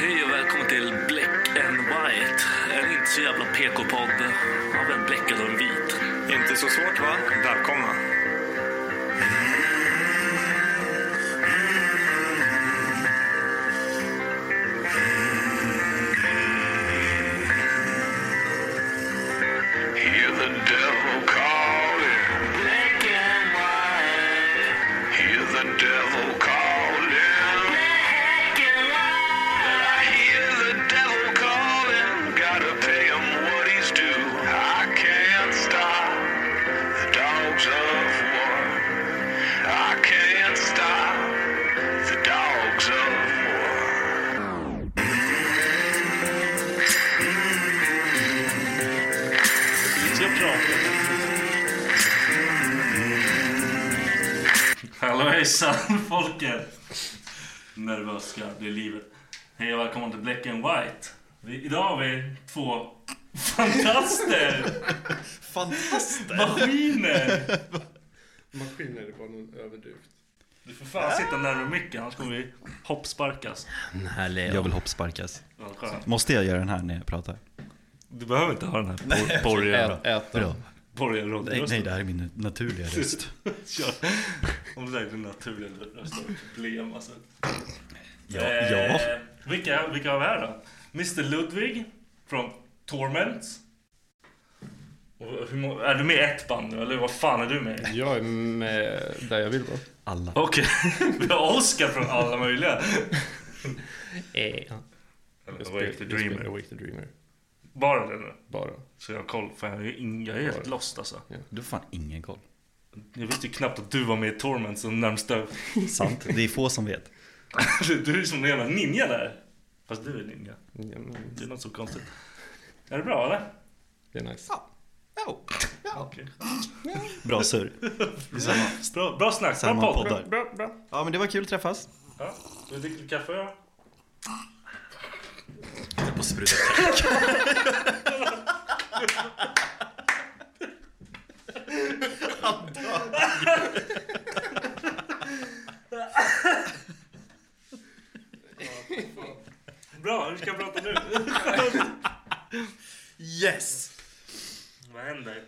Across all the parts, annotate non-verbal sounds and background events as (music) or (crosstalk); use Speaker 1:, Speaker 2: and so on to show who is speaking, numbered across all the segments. Speaker 1: Hej och välkommen till Black and White. En inte så jävla PK-podd av en bläckad och en vit.
Speaker 2: Inte så svårt va? Välkomna.
Speaker 3: Hear the devil calling. Black and white. Hear the devil calling. Black and white. I hear the devil calling. Gotta pay him what he's due. I can't stop the dogs of war. I can't stop the dogs of war.
Speaker 1: Så jag pratar. Hallå hejsan folket. Nervös ska jag bli i livet. Hej och välkommen till Black and White. Vi, idag har vi två fantaster.
Speaker 4: Fantastiskt!
Speaker 1: Maskiner.
Speaker 4: Maskiner var någon överdrift.
Speaker 1: Du får fan sitta närmare micken annars kommer vi hoppsparkas.
Speaker 5: Härlig. Jag vill hoppsparkas.
Speaker 1: Vad skönt.
Speaker 5: Måste jag göra er den här när jag pratar?
Speaker 1: Du behöver inte ha den här por- porriga
Speaker 5: Bra.
Speaker 1: porriga
Speaker 5: Nej,
Speaker 1: rockrösten.
Speaker 5: nej, det här är er min naturliga röst.
Speaker 1: (laughs) Kör. Om det där är din naturliga röst har du problem alltså. Eh,
Speaker 5: Ja. ja.
Speaker 1: vilka, vilka har vi här då? Mr Ludwig från Torments. Och hur må- är du med i ett band nu eller vad fan är du med i?
Speaker 4: Jag är med där jag vill vara.
Speaker 5: Alla.
Speaker 1: Okej, (laughs) vi har Oscar från alla möjliga.
Speaker 4: Jag
Speaker 1: Eller
Speaker 4: spelar-
Speaker 1: Wake the
Speaker 4: jag Eh, spelar
Speaker 1: Dreamer.
Speaker 4: Wake the Dreamer.
Speaker 1: Bara det nu.
Speaker 4: Bara.
Speaker 1: Så jag har koll, för jag är, in, jag är helt lost alltså.
Speaker 5: Du har fan ingen koll.
Speaker 1: Jag visste ju knappt att du var med i Torments de närmsta...
Speaker 5: Sant. Det är få som vet.
Speaker 1: (laughs) Du du är som en jävla ninja där. Fast du är ninja.
Speaker 4: Ja, men
Speaker 1: Det är något så konstigt. Är det bra eller?
Speaker 4: det är nice.
Speaker 1: Okej.
Speaker 5: Bra surr.
Speaker 1: Bra, bra snack, bra
Speaker 5: Samma
Speaker 1: podd.
Speaker 5: poddar.
Speaker 1: Bra, bra.
Speaker 5: Ja, men det var kul att träffas.
Speaker 1: Ja, du dricker kaffe ja.
Speaker 5: Jag måste spruta.
Speaker 1: Bra, hur ska jag prata nu?
Speaker 5: Yes!
Speaker 1: Vad händer?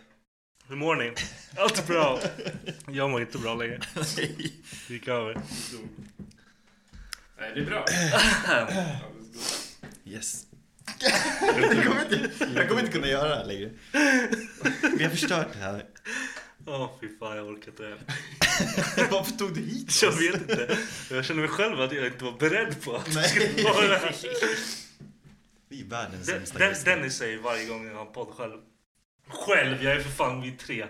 Speaker 1: Hur mår ni? Allt är bra. Jag mår inte bra längre. Det gick över.
Speaker 4: Nej, det är bra.
Speaker 5: Yes. jag, kommer inte, jag kommer inte kunna göra det här längre. Vi har förstört det här.
Speaker 1: Åh fy fan, jag orkar inte.
Speaker 5: Varför tog du hit
Speaker 3: (laughs)
Speaker 1: Jag vet inte. Jag känner mig själv att jag inte var beredd på att det
Speaker 3: (laughs)
Speaker 1: skulle
Speaker 5: Nej.
Speaker 1: vara det här.
Speaker 5: Vi är världens
Speaker 1: Den,
Speaker 5: sämsta
Speaker 1: den,
Speaker 5: gäster.
Speaker 1: Dennis säger varje gång jag har en podd själv. Själv? Jag är för fan vi tre.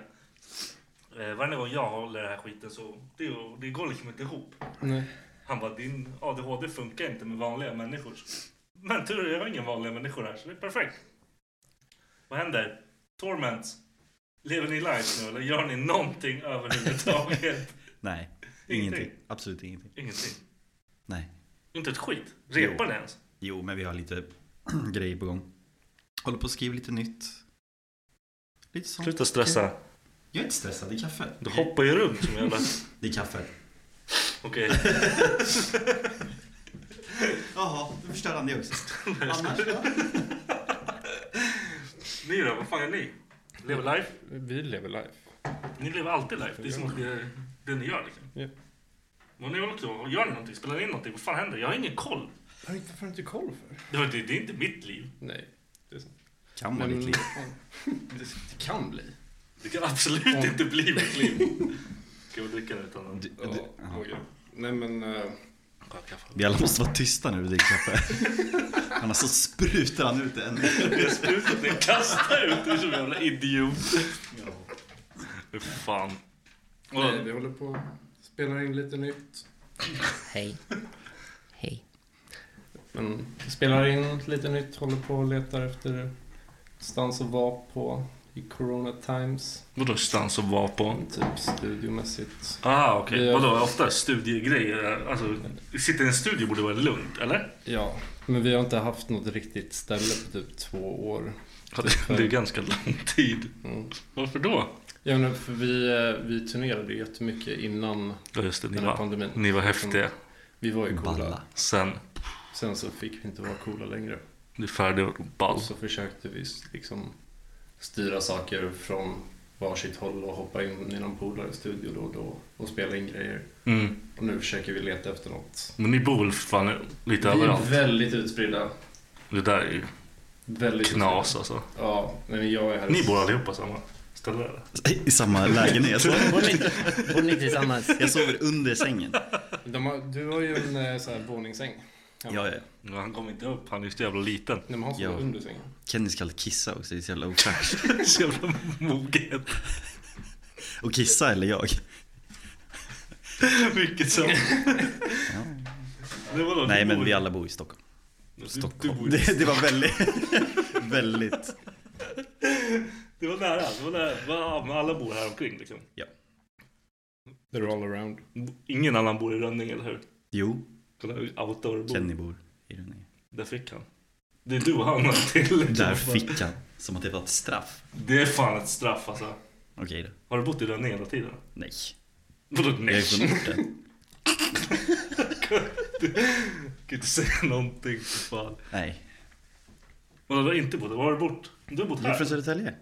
Speaker 3: eh, varje gång jag håller den här skiten så det, det går liksom inte ihop.
Speaker 1: Nej.
Speaker 3: Han bara, din ADHD funkar inte med vanliga människor. Men tur är, jag har ingen vanliga människor här, så det är perfekt. Vad händer? Torment. Lever ni life nu eller gör ni
Speaker 5: (laughs)
Speaker 3: någonting överhuvudtaget?
Speaker 6: Nej,
Speaker 3: Ingenting.
Speaker 6: ingenting. Absolut ingenting.
Speaker 3: Ingenting.
Speaker 6: Nej.
Speaker 3: Inte ett skit. Repar ni
Speaker 6: Jo.
Speaker 3: ens?
Speaker 6: Jo, men vi har lite (clears throat) grejer på gång. Håller på att skriva lite nytt. Lite sånt.
Speaker 3: Sluta stressa.
Speaker 6: Jag är inte stressad, det är kaffet.
Speaker 3: Du hoppar ju runt som en jävla...
Speaker 6: Det är kaffet.
Speaker 3: Okej.
Speaker 6: Jaha, då förstör han det också. Annars
Speaker 3: Ni då? Vad fan är ni? Lever life?
Speaker 1: Vi lever life.
Speaker 3: Ni lever alltid life. Det är som att det är det ni gör liksom.
Speaker 1: Ja.
Speaker 3: Men ni håller på och gör ni någonting? Spelar ni in någonting? Vad fan händer? Jag har ingen koll.
Speaker 1: Har du inte, varför har du inte koll för?
Speaker 3: Det, var- det, det är inte mitt liv.
Speaker 1: Nej, det är sant.
Speaker 6: kan vara ditt liv.
Speaker 1: det, det kan bli.
Speaker 3: Det kan absolut inte bli
Speaker 1: (laughs)
Speaker 3: mitt liv. Ska vi dricka nu utan att...
Speaker 6: Du-
Speaker 1: Ja,
Speaker 6: du- jaha.
Speaker 1: okej. Nej men... eh,
Speaker 3: kaffe?
Speaker 6: Vi alla måste vara tysta när vi dricker
Speaker 5: (laughs)
Speaker 6: kaffe. Annars så sprutar han ut en.
Speaker 3: Jag sprutat ni kastar ut er som jävla idiot. Fy fan. Och,
Speaker 1: nej, vi håller på att spela in lite nytt.
Speaker 7: Hej. Hej.
Speaker 1: Men vi spelar in lite nytt, håller på och letar efter stans att vara på i Corona Times.
Speaker 3: vadå stans att vara på?
Speaker 1: Typ studiomässigt.
Speaker 3: Ah okej,
Speaker 1: Vi har-
Speaker 3: vadå ofta studiegrejer? Alltså, sitta i en studio borde vara lugnt, eller?
Speaker 1: Ja, men vi har inte haft något riktigt ställe på typ två år.
Speaker 3: Ja, Det det är ganska lång tid.
Speaker 1: Mm.
Speaker 3: Varför då?
Speaker 1: Ja, men för vi, eh, vi turnerade ju jättemycket innan
Speaker 3: Ja just det, ni
Speaker 1: den här
Speaker 3: var,
Speaker 1: pandemin. Liksom,
Speaker 3: ni var häftiga.
Speaker 1: Vi var ju coola.
Speaker 6: Balla.
Speaker 3: Sen,
Speaker 1: Sen så fick vi inte vara coola längre.
Speaker 3: du är färdig och ball.
Speaker 1: Och så försökte vi liksom styra saker från varsitt håll och hoppa in i någon polares studio då och då och spela in grejer.
Speaker 3: Mm.
Speaker 1: Och nu försöker vi leta efter något.
Speaker 3: Men ni bor väl för fan lite
Speaker 1: vi är
Speaker 3: överallt?
Speaker 1: väldigt utspridda.
Speaker 3: Det där är ju
Speaker 1: Väldigt
Speaker 3: knas alltså.
Speaker 1: utspridda. Ja, men jag är här.
Speaker 3: Ni bor allihopa samma ställe eller?
Speaker 6: I samma lägenhet.
Speaker 7: Bor ni, bor ni tillsammans?
Speaker 6: Jag sover under sängen.
Speaker 1: De har, du har ju en eh, så här våningssäng.
Speaker 6: Jag är
Speaker 3: Ja, han kom inte upp, han är ju så jävla liten.
Speaker 1: Nej, men han sover
Speaker 6: Ja.
Speaker 1: under sängen.
Speaker 6: Kenny ska alltid kissa också, det är så jävla ofräscht.
Speaker 3: (laughs) Så jävla mogen.
Speaker 6: Och kissa eller jag?
Speaker 3: Vilket som... Det var då,
Speaker 6: Nej
Speaker 3: du
Speaker 6: men
Speaker 3: bor-
Speaker 6: vi alla bor i Stockholm.
Speaker 3: du- Du
Speaker 6: Stockholm.
Speaker 3: bor, i-
Speaker 6: Det, det var väldigt,
Speaker 3: (laughs)
Speaker 6: väldigt,
Speaker 3: det var nära, det var nära. Va, Men alla bor här omkring liksom.
Speaker 6: ja.
Speaker 1: They're all around.
Speaker 3: Ingen annan bor i Rönninge, eller hur?
Speaker 6: Jo,
Speaker 3: Kolla hur outdoor bor.
Speaker 6: Kenny bor i Rönninge.
Speaker 3: Där fick han. Det är du och han har till.
Speaker 6: Där fick han, som att det var ett straff.
Speaker 3: Det är fan ett straff alltså.
Speaker 6: Okej då.
Speaker 3: Har du bott i Rönninge hela tiden? (laughs)
Speaker 6: Nej.
Speaker 3: Vadå
Speaker 6: Jag är
Speaker 3: nej?
Speaker 6: från orten.
Speaker 3: Jag kan inte säga någonting för fan.
Speaker 6: Nej.
Speaker 3: Vadå du har inte bott? Var har du bott? Du har bott
Speaker 6: Jag är från
Speaker 3: här?
Speaker 6: Södertälje.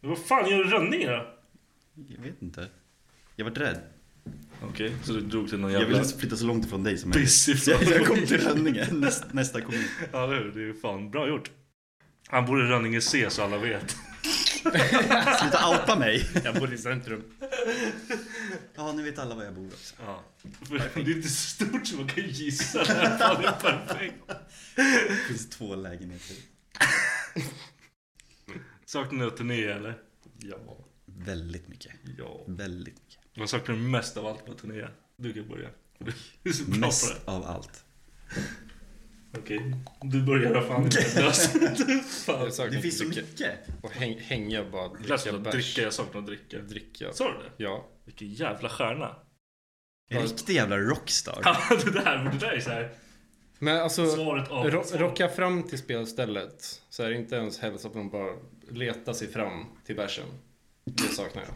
Speaker 3: Men vad fan gör du i Rönninge då?
Speaker 6: Jag vet inte. Jag var rädd.
Speaker 3: Okej, så du drog till någon
Speaker 6: Jag
Speaker 3: jävla...
Speaker 6: ville flytta så långt ifrån dig som
Speaker 3: Piss
Speaker 6: möjligt. Så (laughs)
Speaker 3: ifrån
Speaker 6: jag, jag kom till Rönninge, nästa, nästa kommun.
Speaker 3: (laughs) Ja, eller hur? Det är ju fan bra gjort. Han bor i Rönninge C så alla vet.
Speaker 6: (laughs) Sluta outa mig.
Speaker 1: Jag bor i centrum.
Speaker 6: Ja, nu vet alla var jag bor också.
Speaker 3: Ja. (laughs) För det är inte så stort så man kan gissa. Det här fan är perfekt.
Speaker 6: Det finns två lägenheter.
Speaker 3: Saknar ni att turné eller?
Speaker 1: Ja.
Speaker 6: Väldigt mycket.
Speaker 3: Ja.
Speaker 6: Väldigt mycket.
Speaker 3: Vad saknar du mest av allt på turné? Du kan börja. Du är så bra på
Speaker 6: Mest av allt.
Speaker 3: det. Okej, du börjar då fan.
Speaker 1: (laughs) Jag saknar
Speaker 6: Det finns så
Speaker 1: inte mycket.
Speaker 6: mycket.
Speaker 1: Och häng, hänga bara.
Speaker 3: Det lät som
Speaker 1: Dricka
Speaker 3: att
Speaker 1: bärs.
Speaker 3: dricka, jag saknar att dricka.
Speaker 1: Dricka.
Speaker 3: Sa du det?
Speaker 1: Ja.
Speaker 3: Vilken jävla stjärna.
Speaker 6: En riktig jävla rockstar.
Speaker 3: Ja, (laughs) det där, men det där är så här.
Speaker 1: Men alltså,
Speaker 3: Svaret av-
Speaker 1: ro-
Speaker 3: svaret.
Speaker 1: rocka fram till spelstället. Så här, inte ens hälsa på dem, bara leta sig fram till bärsen. Det saknar jag.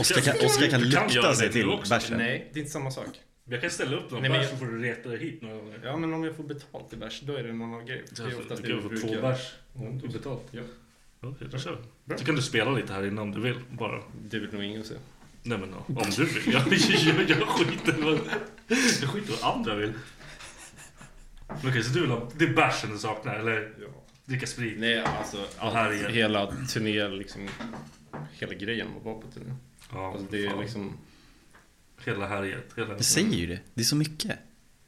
Speaker 6: Oskar kan, Oskar kan
Speaker 3: Du kan göra
Speaker 6: lukta
Speaker 3: det
Speaker 6: sig
Speaker 3: nu
Speaker 6: till
Speaker 3: också.
Speaker 6: bärsen.
Speaker 1: Nej, det är inte samma sak.
Speaker 3: Jag kan ställa upp någon
Speaker 1: Nej, men
Speaker 3: bärs
Speaker 1: jag-
Speaker 3: så får du reta dig hit några gånger.
Speaker 1: Ja, men om jag får betalt i bärs, då är det någon annan grej. Det är oftast det
Speaker 3: du
Speaker 1: vi
Speaker 3: kan få två
Speaker 1: brukar.
Speaker 3: bärs. Mm. Obetalt.
Speaker 1: Ja.
Speaker 3: Okej, då kör vi.
Speaker 1: Bra.
Speaker 3: Så kan du spela lite här inne om du vill bara.
Speaker 1: Det vill nog ingen se.
Speaker 3: Nej men ja, om du vill. (laughs) Jag, jag, jag skiter i vad, jag skiter i vad andra vill. Men Okej, så du vill ha, det är bärsen du saknar eller?
Speaker 1: Ja.
Speaker 3: Dricka sprit?
Speaker 1: Nej, alltså
Speaker 3: Ja, här igen.
Speaker 1: hela turnén liksom. Hela grejen med att vara på turné.
Speaker 3: Ja,
Speaker 1: Alltså det är
Speaker 3: fan.
Speaker 1: liksom.
Speaker 3: Hela härjet. Hela...
Speaker 6: Du säger ju det. Det är så mycket.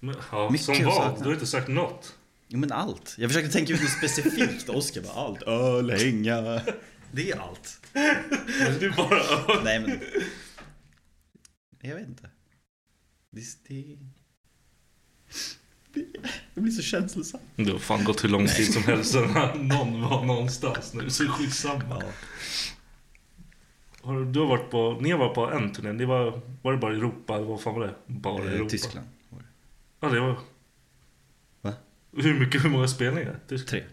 Speaker 3: Men, ja,
Speaker 6: Mycket
Speaker 3: som
Speaker 6: jag
Speaker 3: vad?
Speaker 6: saknar.
Speaker 3: Du har inte sagt något.
Speaker 6: Jo men allt. Jag försökte tänka ut något specifikt. Oskar bara allt. Öl, hänga.
Speaker 3: Det är allt.
Speaker 1: Du bara...
Speaker 3: Nej men. Jag vet inte. Det, det... Jag blir så känslosam.
Speaker 1: Det har fan gått hur lång tid som helst sedan någon var någonstans nu, så skitsamma. Har du, du har varit på, ni har varit på en turné, det var, var det bara Europa, eller vad fan var det? Bara
Speaker 3: Eh,
Speaker 1: Europa?
Speaker 3: Tyskland. var det.
Speaker 1: Ja, det var...
Speaker 3: Va?
Speaker 1: Hur, mycket, hur många spelningar? Tyskland?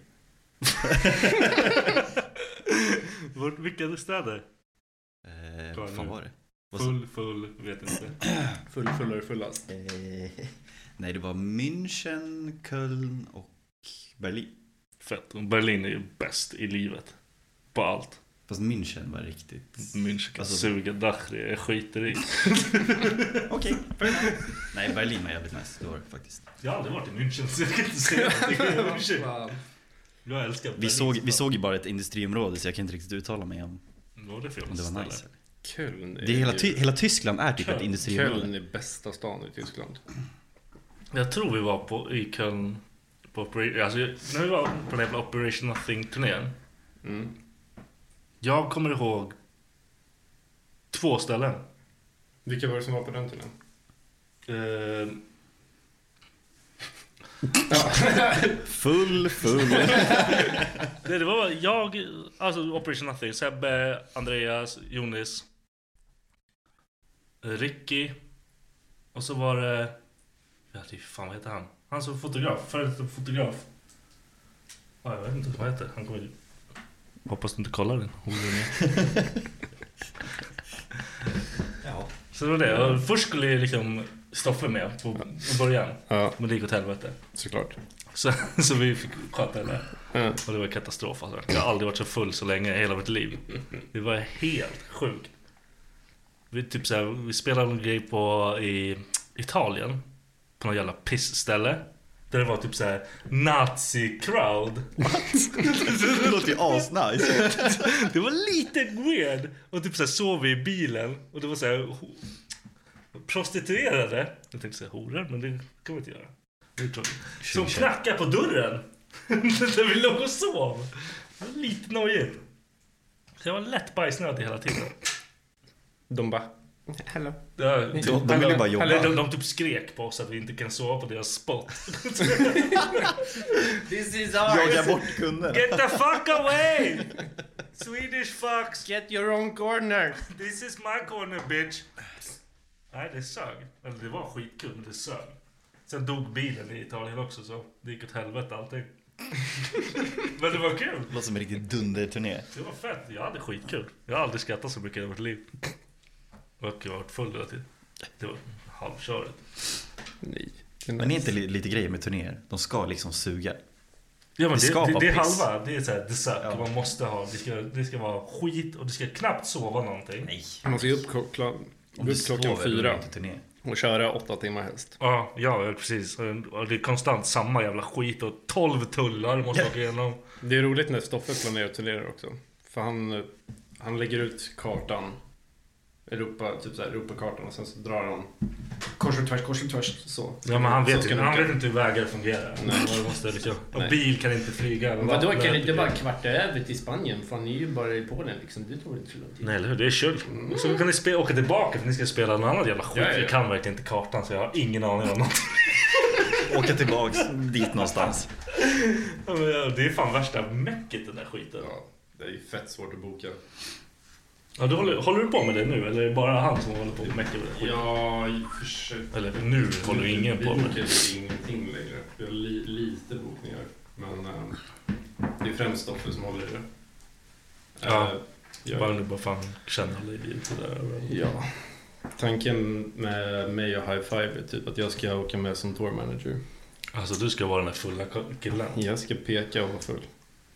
Speaker 3: Tre.
Speaker 1: (laughs) Vart, vilka städer?
Speaker 3: Eh,
Speaker 1: Klar
Speaker 3: vad fan
Speaker 1: nu.
Speaker 3: var det? Vad sa-
Speaker 1: Full, full, vet
Speaker 3: (clears throat)
Speaker 1: inte.
Speaker 4: Full, fullare, fullast.
Speaker 3: Eh, nej, det var München, Köln och Berlin.
Speaker 1: Fett. Och Berlin är ju bäst i livet. På allt.
Speaker 3: Fast München var riktigt...
Speaker 1: München kan
Speaker 3: Alltså-
Speaker 1: suga, Dachri, jag skiter i.
Speaker 3: Okej, fair enough. Nej, Berlin var jävligt nice. Det var det faktiskt.
Speaker 1: Jag har aldrig varit i München så jag kan inte säga (laughs) någonting om München. Jag älskar
Speaker 3: Vi såg, vi såg ju bara ett industriområde så jag kan inte riktigt uttala mig om
Speaker 1: Vad är det för
Speaker 3: om
Speaker 1: jävla
Speaker 3: det
Speaker 1: ställe?
Speaker 3: var nice. eller.
Speaker 4: Köln
Speaker 3: Det är hela, ty- hela Tyskland är typ
Speaker 1: Köln.
Speaker 3: ett industriområde.
Speaker 4: Köln är bästa stan i Tyskland.
Speaker 1: Jag tror vi var på, i Köln på Operation... Alltså, jag- när vi var på den jävla Operation Nothing-turnén.
Speaker 4: Mm.
Speaker 1: Jag kommer ihåg två ställen.
Speaker 4: Vilka var det som var på den turnén?
Speaker 1: Eh,
Speaker 4: (laughs)
Speaker 3: Full, full.
Speaker 1: det, det var jag, alltså Operation Nothing, Sebbe, Andreas, Jonis, eh, Ricky. Och så var det... Ja, det är fan vad heter han? Han som fotograf, före detta fotograf. Ja, jag vet inte vad han heter. Han kommer... Hoppas du inte kollar den.
Speaker 3: ja.
Speaker 1: Så det var det. Och först skulle ju liksom Stoffe med på, i början.
Speaker 4: Ja,
Speaker 1: Men det gick åt helvete.
Speaker 4: såklart.
Speaker 1: Så, så vi fick sköta det där.
Speaker 4: Ja.
Speaker 1: Och det var katastrof alltså. Jag har aldrig varit så full så länge i hela mitt liv. Det var helt sjukt. Vi, typ så här, vi spelade en grej på i Italien. På något jävla pissställe. Där det var typ så här nazi-crowd.
Speaker 3: Det låter ju asnice.
Speaker 1: Det var lite weird. Och typ så här sov vi i bilen. Och det var så här ho- prostituerade. Jag tänkte säga horor, men det kan vi inte göra. Det är tråkigt. Som knackade på dörren. (laughs) Där vi låg och sov. Det var lite nojigt. Så jag var lätt bajsnödig hela tiden.
Speaker 4: De bara... Hello.
Speaker 1: Ja,
Speaker 3: De, de vill ju bara jobba.
Speaker 1: Eller de, de typ skrek på oss att vi inte kan sova på deras spot. (laughs)
Speaker 8: This is ours.
Speaker 3: Jaga bort kunder.
Speaker 1: Get the fuck away! Swedish fucks!
Speaker 4: Get your own corner!
Speaker 1: This is my corner bitch. Nej, det sög. Eller det var skitkul, men det sög. Sen dog bilen i Italien också, så det gick åt helvete
Speaker 3: (laughs)
Speaker 1: allting. men det var kul.
Speaker 3: Låter som en riktig dunderturné.
Speaker 1: Det var fett. Jag hade skitkul. Jag har aldrig skrattat så mycket i hela mitt liv. Och jag har varit full hela tiden. Det var halvköret.
Speaker 4: Nej. det är
Speaker 3: Men är
Speaker 4: nice.
Speaker 3: inte li- lite grejer med turnéer? De ska liksom suga.
Speaker 1: Ja, men
Speaker 3: Det
Speaker 1: det,
Speaker 3: ska
Speaker 1: det, det,
Speaker 3: vara
Speaker 1: är
Speaker 3: piss.
Speaker 1: halva. Det är såhär dessert.
Speaker 3: Ja.
Speaker 1: Man måste ha. Det ska, det ska vara skit och du ska knappt sova någonting.
Speaker 3: Nej.
Speaker 4: Man ska ju upp, klo-
Speaker 3: Om du
Speaker 4: upp klockan
Speaker 3: sover, då är det
Speaker 4: fyra
Speaker 3: inte turné.
Speaker 4: och köra åtta timmar helst.
Speaker 1: Ja, ja ja, precis. Och Det är konstant samma jävla skit och 12 tullar måste åka igenom.
Speaker 4: Det är roligt när Stoffe planerar turnéer också. För han, eh, han lägger ut kartan. Europa, typ så här, Europakartan och sen så drar han kors och tvärs, kors och tvärs. Så.
Speaker 1: Ja men han
Speaker 4: så
Speaker 1: vet,
Speaker 4: ska
Speaker 1: ju,
Speaker 4: det
Speaker 1: han
Speaker 4: åka.
Speaker 1: vet inte hur vägar fungerar. Man måste liksom, och
Speaker 4: Nej.
Speaker 1: bil kan inte flyga. över
Speaker 4: Vadå,
Speaker 1: vattnet.
Speaker 4: kan ni inte bara kvarta över till Spanien? Fan, ni är ju bara i Polen liksom. Det tar väl inte så lång tid?
Speaker 1: Nej eller hur, det är kul. Så kan ni spe- åka tillbaka för ni ska spela någon annan jävla skit.
Speaker 4: Ja, ja.
Speaker 1: Jag kan verkligen inte kartan så jag har ingen aning om något.
Speaker 3: Åka tillbaks dit någonstans.
Speaker 1: (laughs) Ja, men, ja, Det är fan värsta mäcket den där skiten.
Speaker 4: Ja, det är ju fett svårt att boka.
Speaker 1: Ja, du håller, håller du på med det nu eller är det bara han som håller på och mäcker med den skiten?
Speaker 4: Jag försöker...
Speaker 1: Eller nu håller ju ingen på
Speaker 4: Vi
Speaker 1: med
Speaker 4: bokar ju typ ingenting längre. Vi har li, lite bokningar. Men eh, det är främst Stoffe som håller i det.
Speaker 1: Ja.
Speaker 4: Eh,
Speaker 1: det.
Speaker 4: jag-
Speaker 1: Bara nu bara fan känner hålla i bil sådär.
Speaker 4: Ja. Tanken med mig och High Five är typ att jag ska åka med som tour manager.
Speaker 1: Alltså du ska vara den där fulla killen.
Speaker 4: Jag ska peka och vara full.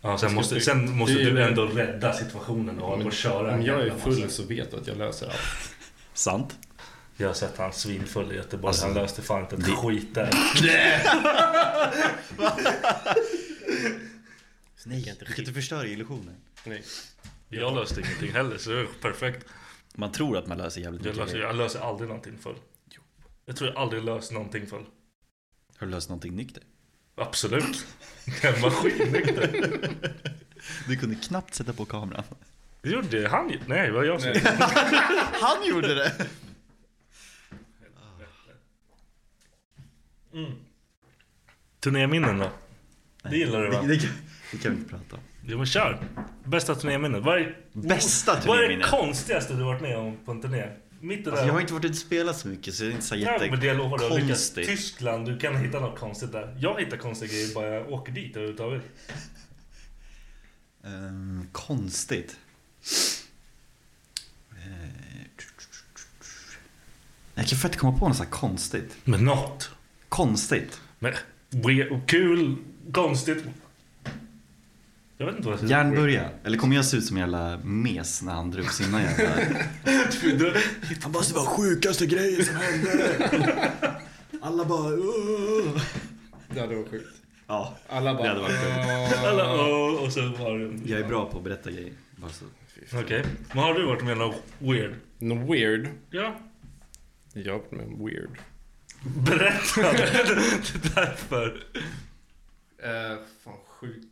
Speaker 1: Ja, sen,
Speaker 4: ska
Speaker 1: måste,
Speaker 4: bygga-
Speaker 1: sen måste
Speaker 4: det är-
Speaker 1: du ändå rädda situationen och hålla på
Speaker 4: Men
Speaker 1: och köra.
Speaker 4: om
Speaker 1: en
Speaker 4: jag är
Speaker 1: jävla
Speaker 4: full
Speaker 1: massa.
Speaker 4: så vet du att jag löser allt.
Speaker 3: Sant.
Speaker 1: Jag har sett han svinfull i Göteborg.
Speaker 3: Alltså,
Speaker 1: han löste fan inte ett skit där.
Speaker 3: Nej, du kan inte förstöra illusionen.
Speaker 4: Nej.
Speaker 1: Jag löste ingenting heller så det är perfekt.
Speaker 3: Man tror att man löser jävligt
Speaker 1: Jag
Speaker 3: mycket
Speaker 1: löser,
Speaker 3: grejer.
Speaker 1: jag löser aldrig någonting full. Jag tror jag aldrig löst någonting full.
Speaker 3: Har du löst någonting nykter?
Speaker 1: Absolut. Jag var skitnykter.
Speaker 3: Du kunde knappt sätta på kameran.
Speaker 1: Det gjorde det. han ju. Nej, det var jag som gjorde det.
Speaker 3: Han gjorde det!
Speaker 1: Turnéminnen då? Det gillar du va?
Speaker 3: Det, det, kan- det kan vi inte prata om.
Speaker 1: Jo men kör! Bästa turnéminnet. Vad är,
Speaker 3: Bästa
Speaker 1: Vad är det
Speaker 3: turnéminnet?
Speaker 1: konstigaste du varit med om på en turné? Mitt i
Speaker 3: Alltså, jag har inte varit ute och spelat så mycket så det är inte så
Speaker 1: Ja, men det lovar du. har lyckats.
Speaker 3: jättekonstigt.
Speaker 1: Tyskland, du kan hitta något konstigt där. Jag hittar konstiga grejer bara jag åker dit överhuvudtaget.
Speaker 3: Ehm, konstigt. Ehm, Jag kan fan inte komma på något så här konstigt.
Speaker 1: Men något.
Speaker 3: Konstigt.
Speaker 1: Men we- kul, konstigt. Jag vet inte vad jag ska (laughs)
Speaker 3: Järnbörja. Eller kommer jag se ut som en jävla mes när han drog sina jävla...
Speaker 9: Han bara, det var sjukaste grejen som hände. Alla bara... "Åh."
Speaker 6: Det hade varit sjukt.
Speaker 3: Ja,
Speaker 6: Alla bara...
Speaker 3: det hade varit sjukt.
Speaker 6: "Åh."
Speaker 1: Alla oh, och så var det...
Speaker 3: Jag är bra på att berätta grejer. Bara så.
Speaker 1: Okej. Men har du varit med om något weird?
Speaker 6: Något weird.
Speaker 1: Ja.
Speaker 6: Jag har varit med om weird.
Speaker 1: Berätta. Det är Därför.
Speaker 6: Eh, fan sjukt.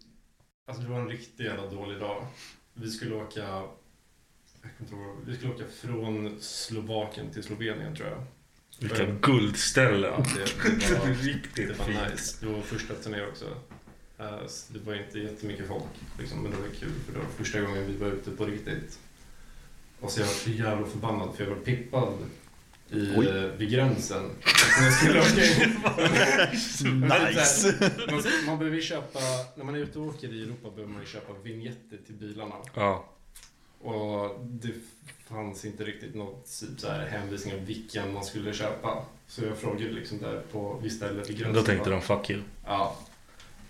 Speaker 6: Alltså det var en riktigt jävla dålig dag. Vi skulle åka... Jag kommer inte ihåg. Vi skulle åka från Slovakien till Slovenien tror jag.
Speaker 1: Vilka
Speaker 6: Eh,
Speaker 1: guldställen.
Speaker 6: Ja,
Speaker 4: (laughs)
Speaker 6: det, det var
Speaker 1: Riktigt
Speaker 6: det var
Speaker 1: fint.
Speaker 6: nice. Det var första turné också. Eh, så det var inte jättemycket folk, liksom, men det var kul för det var första gången vi var ute på riktigt. Och så jag var så jävla förbannad för jag var pippad i,
Speaker 3: Oj.
Speaker 6: eh, vid gränsen. Så jag skulle åka in. Men det är så här, Man, man behöver ju köpa, när man är ute och åker i Europa behöver man ju köpa vignetter till bilarna.
Speaker 1: Ja.
Speaker 6: Och det fanns inte riktigt något typ så här, hänvisning om vilken man skulle köpa. Så jag frågade liksom där på visst ställe vid gränsen.
Speaker 1: Då tänkte
Speaker 6: bara,
Speaker 1: de fuck you.
Speaker 6: Ja.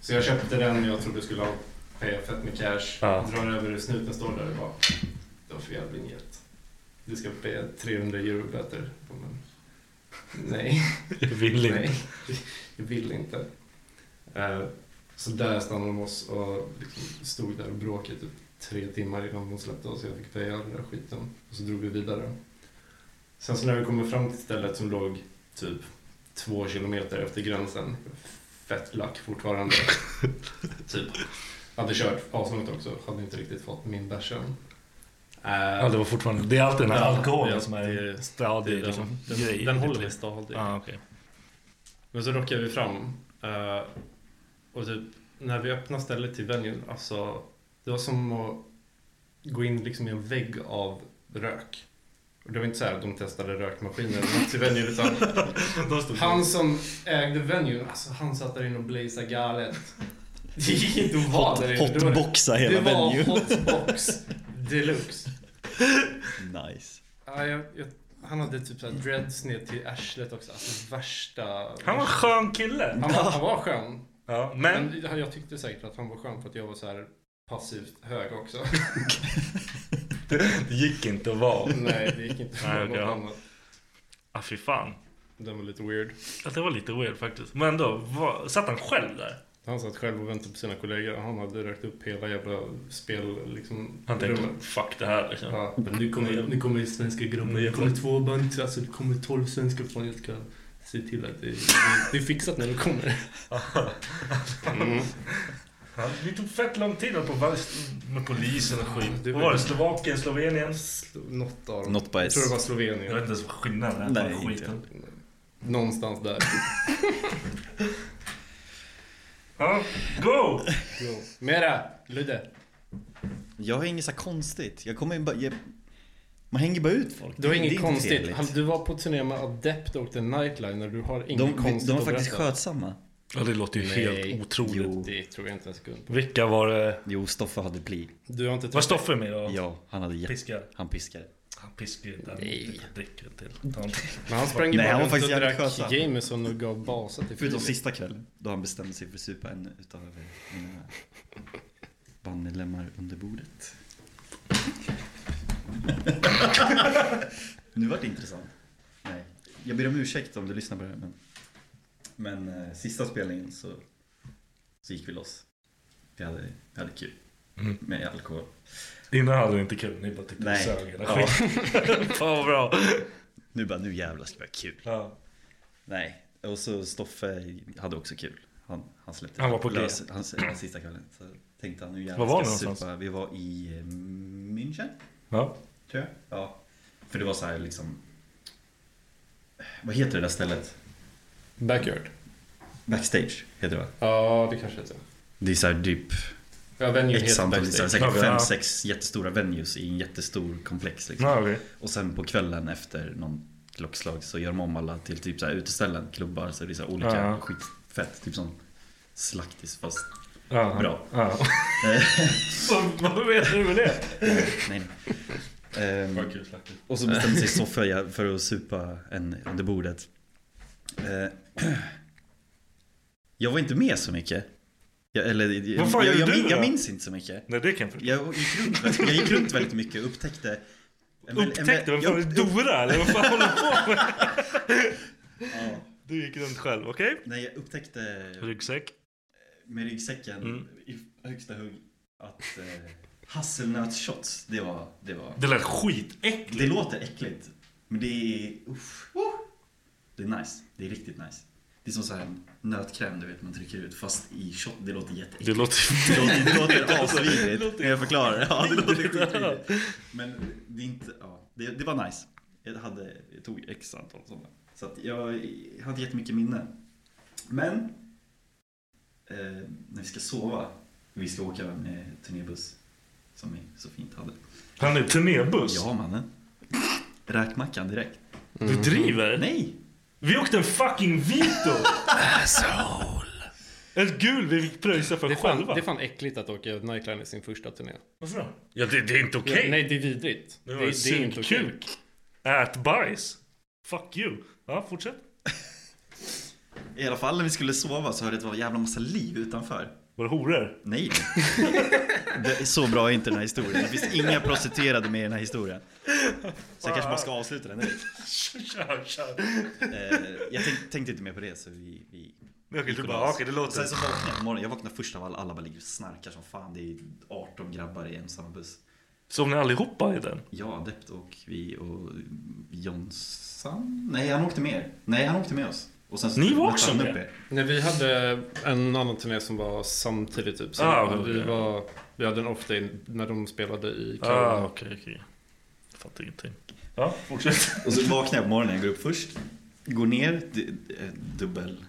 Speaker 6: Så jag köpte den jag trodde skulle ha payat fett med cash.
Speaker 1: Ja.
Speaker 6: Drar över och snuten står där och bara. Det var fel biljett. Du ska paya 300 euro böter. Jag bara, Men, nej.
Speaker 1: Jag vill inte.
Speaker 6: Nej, jag vill inte. Eh, Så där stannade de oss och liksom stod där och bråkade typ tre timmar innan de släppte oss. Jag fick paya all den där skiten. Och så drog vi vidare. Sen så när vi kommer fram till stället som låg typ två kilometer efter gränsen. Fett lack
Speaker 1: (laughs)
Speaker 6: fortfarande. typ. Hade kört aslångt också. Hade inte riktigt fått min bärs än.
Speaker 1: Ja, det var fortfarande... Det är alltid den här
Speaker 6: Ja,
Speaker 1: alkoholen
Speaker 6: ja,
Speaker 1: som är
Speaker 6: det-
Speaker 1: stadig
Speaker 6: den,
Speaker 1: liksom, grej.
Speaker 6: den, den håller mig stadig.
Speaker 1: Ja, okej.
Speaker 6: Men så rockar vi fram. eh, och typ, när vi öppnar stället till venue, alltså det var som att gå in liksom i en vägg av rök. Och det var inte så här att de testade rökmaskiner eller något till venue, (laughs) utan han som ägde venue, alltså han satt där inne och blazade galet. Det gick inte att vara där inne. Det var-
Speaker 3: hotboxa hela
Speaker 6: Det var
Speaker 3: venue.
Speaker 6: hotbox deluxe.
Speaker 3: Nice.
Speaker 6: Ja, jag, jag, han hade typ såhär dreads ner till arslet också. Alltså värsta...
Speaker 1: Han var en skön kille.
Speaker 6: Han var, han var skön.
Speaker 1: Ja, men...
Speaker 6: Men jag jag tyckte säkert att han var skön för att jag var så här passivt hög också.
Speaker 1: Det gick inte att vara.
Speaker 6: (laughs) Nej, det gick inte för
Speaker 1: Nej,
Speaker 6: någon
Speaker 1: okej, ja.
Speaker 6: annan.
Speaker 1: Ah, fy fan.
Speaker 6: Den var lite weird.
Speaker 1: Ja, det var lite weird faktiskt. Men ändå, var, satt han själv där?
Speaker 6: Han satt själv och väntade på sina kollegor. Han hade rökt upp hela jävla spel, liksom,
Speaker 1: Han tänkte
Speaker 6: rummet.
Speaker 1: fuck det här liksom.
Speaker 6: Ja, men nu kommer, nu kommer svenska grabbar.
Speaker 1: Mm,
Speaker 6: Det kommer
Speaker 1: jävlar.
Speaker 6: två band, alltså det kommer tolv svenskar från. Jag ska se till att det, det, det är fixat när de kommer.
Speaker 1: Ja, Det tog fett lång tid att på med polisen och skit.
Speaker 6: Det
Speaker 1: Vad
Speaker 6: var-
Speaker 1: var det? Slovakien, Slovenien?
Speaker 6: Något av dem.
Speaker 3: Något bajs.
Speaker 6: Jag tror det var
Speaker 1: Jag vet
Speaker 6: Slovenien.
Speaker 1: inte ens vad skillnaden är. på
Speaker 3: Nej,
Speaker 1: skiten.
Speaker 3: inte
Speaker 6: Någonstans där.
Speaker 1: Ja, go!
Speaker 6: Jo. Mera! Ludde!
Speaker 3: Jag har inget så här konstigt. Jag kommer ju bara... Jag... Man hänger bara ut folk.
Speaker 6: Du har
Speaker 3: Det- det är
Speaker 6: inget
Speaker 3: inte
Speaker 6: konstigt.
Speaker 3: trevligt.
Speaker 6: Du var på turné med Adept och The Nightliner. Du har inget
Speaker 3: De,
Speaker 6: konstigt
Speaker 3: de var
Speaker 6: att
Speaker 3: faktiskt
Speaker 6: berätta.
Speaker 3: skötsamma.
Speaker 1: Ja, det låter ju helt
Speaker 6: Nej.
Speaker 1: otroligt.
Speaker 3: Jo.
Speaker 6: Det tror jag inte en sekund på.
Speaker 1: Vilka var det?
Speaker 3: Jo, Stoffe hade pli.
Speaker 6: Du har inte
Speaker 1: Var
Speaker 6: träffat...
Speaker 1: Stoffe med och
Speaker 3: Ja, han hade jätte...
Speaker 1: piskade?
Speaker 3: Han Mm. piskade.
Speaker 1: Han piskade inte. Han
Speaker 6: Nej.
Speaker 1: dricker till. Han-
Speaker 6: Men han sprang ju
Speaker 3: Nej,
Speaker 6: bara
Speaker 3: han var
Speaker 6: runt
Speaker 3: faktiskt
Speaker 6: och
Speaker 3: jävligt
Speaker 6: drack
Speaker 3: skötsam.
Speaker 6: Jameson och gav basa till
Speaker 3: Förutom
Speaker 6: Filip.
Speaker 3: sista kvällen då han bestämde sig för att supa en utav mina bandmedlemmar under bordet. (laughs) nu var det intressant. Nej, jag ber om ursäkt om du lyssnar på det här men, men eh, sista spelningen så, så gick vi loss. Vi hade, vi hade kul.
Speaker 1: Mm.
Speaker 3: Med alkohol.
Speaker 1: Innan hade ni inte kul. Ni bara tyckte det
Speaker 3: Nej.
Speaker 1: sög hela
Speaker 3: Ja.
Speaker 1: skiten.
Speaker 3: (laughs)
Speaker 1: Fan vad bra.
Speaker 3: Nu bara, nu jävlar ska vi ha kul.
Speaker 1: Ja.
Speaker 3: Nej, och så Stoffe hade också kul. Han, han släppte
Speaker 1: Han var på G.
Speaker 3: lös, han, han sista kvällen. Så Tänkte han nu
Speaker 1: Var var
Speaker 3: jävlar
Speaker 1: ni
Speaker 3: ska jag supa.
Speaker 1: någonstans?
Speaker 3: Vi var i eh, München.
Speaker 1: Ja.
Speaker 3: Tror jag. Ja. För det var så här liksom. Vad heter det där stället?
Speaker 4: Backyard.
Speaker 3: Backstage heter det va?
Speaker 4: Ja, det kanske heter.
Speaker 3: Det är så här typ
Speaker 4: Ja, venue
Speaker 3: X
Speaker 4: heter
Speaker 3: antal, det är så här
Speaker 4: Backstage.
Speaker 3: säkert
Speaker 4: Ja,
Speaker 3: fem,
Speaker 4: ja.
Speaker 3: sex jättestora venues i en jättestor komplex. Liksom.
Speaker 1: Ja, okej.
Speaker 3: Och sen på kvällen efter någon klockslag så gör de om alla till typ så här uteställen, klubbar. Så det är så här olika
Speaker 1: Ja, ja.
Speaker 3: skitfett. Typ som slaktis fast
Speaker 1: Ja,
Speaker 3: bra. (laughs)
Speaker 1: ja. Vad vet du med det?
Speaker 3: nej, nej.
Speaker 1: (laughs)
Speaker 3: Ehm,
Speaker 1: Vad kul slaktis.
Speaker 3: och så bestämde sig Sofia för att supa en under bordet. Eh, (clears throat) jag var inte med så mycket. Jag, eller,
Speaker 1: Vad fan
Speaker 3: jag,
Speaker 1: gjorde
Speaker 3: jag,
Speaker 1: du
Speaker 3: min- jag
Speaker 1: då?
Speaker 3: minns inte så mycket.
Speaker 1: Nej, det kan jag förstå.
Speaker 3: Jag gick runt, väldigt- jag gick runt väldigt mycket och upptäckte... en väl- en väl-
Speaker 1: Upptäckte? Vem fan är
Speaker 3: jag-
Speaker 1: Dora eller vad fan håller du på med?
Speaker 3: (laughs)
Speaker 1: Du gick runt själv, okej?
Speaker 3: Nej, jag upptäckte
Speaker 1: Ryggsäck?
Speaker 3: med ryggsäcken
Speaker 1: Mm.
Speaker 3: i högsta hugg att eh, hasselnötsshots, det var... Det, var,
Speaker 1: Det lät skitäckligt.
Speaker 3: det låter äckligt. Men det är... Uff, oh. det är nice. Det är riktigt nice. Det är som så här en nötkräm du vet man trycker ut fast i shot. Det låter jätteäckligt.
Speaker 1: Det låter
Speaker 3: det låter, det låter
Speaker 1: Alltså, det
Speaker 3: asvidrigt.
Speaker 1: låter
Speaker 3: när jag förklarar det. Ja, det låter
Speaker 1: vidrigt.
Speaker 3: skitvidrigt. Men det är inte... Ja, det, det var nice. Jag, hade, jag tog x antal sådana. Så att jag hade jättemycket minne. Men eh, när vi ska sova, vi ska åka med turnébuss som vi så fint hade.
Speaker 1: Han är turnébuss?
Speaker 3: Ja mannen. Räkmackan direkt.
Speaker 1: Du driver?
Speaker 3: Nej!
Speaker 1: Vi åkte en fucking Vito! Asshole! Ett gul vi fick pröjsa för
Speaker 6: Det är, fan,
Speaker 1: själva.
Speaker 6: det är fan äckligt att åka Nightline i sin första turné.
Speaker 1: Varför då? Ja, det, det är inte okej.
Speaker 6: Ja, nej, det är vidrigt.
Speaker 1: Det,
Speaker 6: Det-
Speaker 1: var
Speaker 6: det är inte okej.
Speaker 1: sugkuk. Ät bajs. Fuck you. Ja, fortsätt.
Speaker 3: I alla fall när vi skulle sova så hörde jag att det var en jävla massa liv utanför.
Speaker 1: Var det horor?
Speaker 3: Nej. det är så bra är inte den här historien. Det finns inga prostituerade med i den här historien. Så jag kanske bara ska avsluta den direkt.
Speaker 1: (laughs) Kör, kör.
Speaker 3: Eh, jag tänk, tänkte inte mer på det så vi... vi
Speaker 1: Okej,
Speaker 3: gick
Speaker 1: du
Speaker 3: och
Speaker 1: bara,
Speaker 3: la oss.
Speaker 1: okej, det låter-
Speaker 3: Sen så vaknade jag på morgonen. Jag vaknade först av alla, alla bara ligger och snarkar som fan. Det är 18 grabbar i en samma buss.
Speaker 1: Sov ni allihopa i den?
Speaker 3: Jag, Adept och vi och Jonsson? Nej, han åkte med er. Nej, han åkte med oss. Och sen så
Speaker 1: Ni var
Speaker 3: mötte
Speaker 1: också
Speaker 3: han
Speaker 1: med?
Speaker 3: upp er.
Speaker 6: Nej, vi hade en annan turné som var samtidigt typ. Så
Speaker 1: Ah,
Speaker 6: vi,
Speaker 1: okej.
Speaker 6: var, vi hade en off day när de spelade i
Speaker 1: Ah,
Speaker 6: Kalmar.
Speaker 1: okej, okej. Jag Fattar ingenting. Ja, fortsätt. (laughs)
Speaker 3: Och så vaknar jag på morgonen, jag går upp först. Går ner, du, eh, dubbel...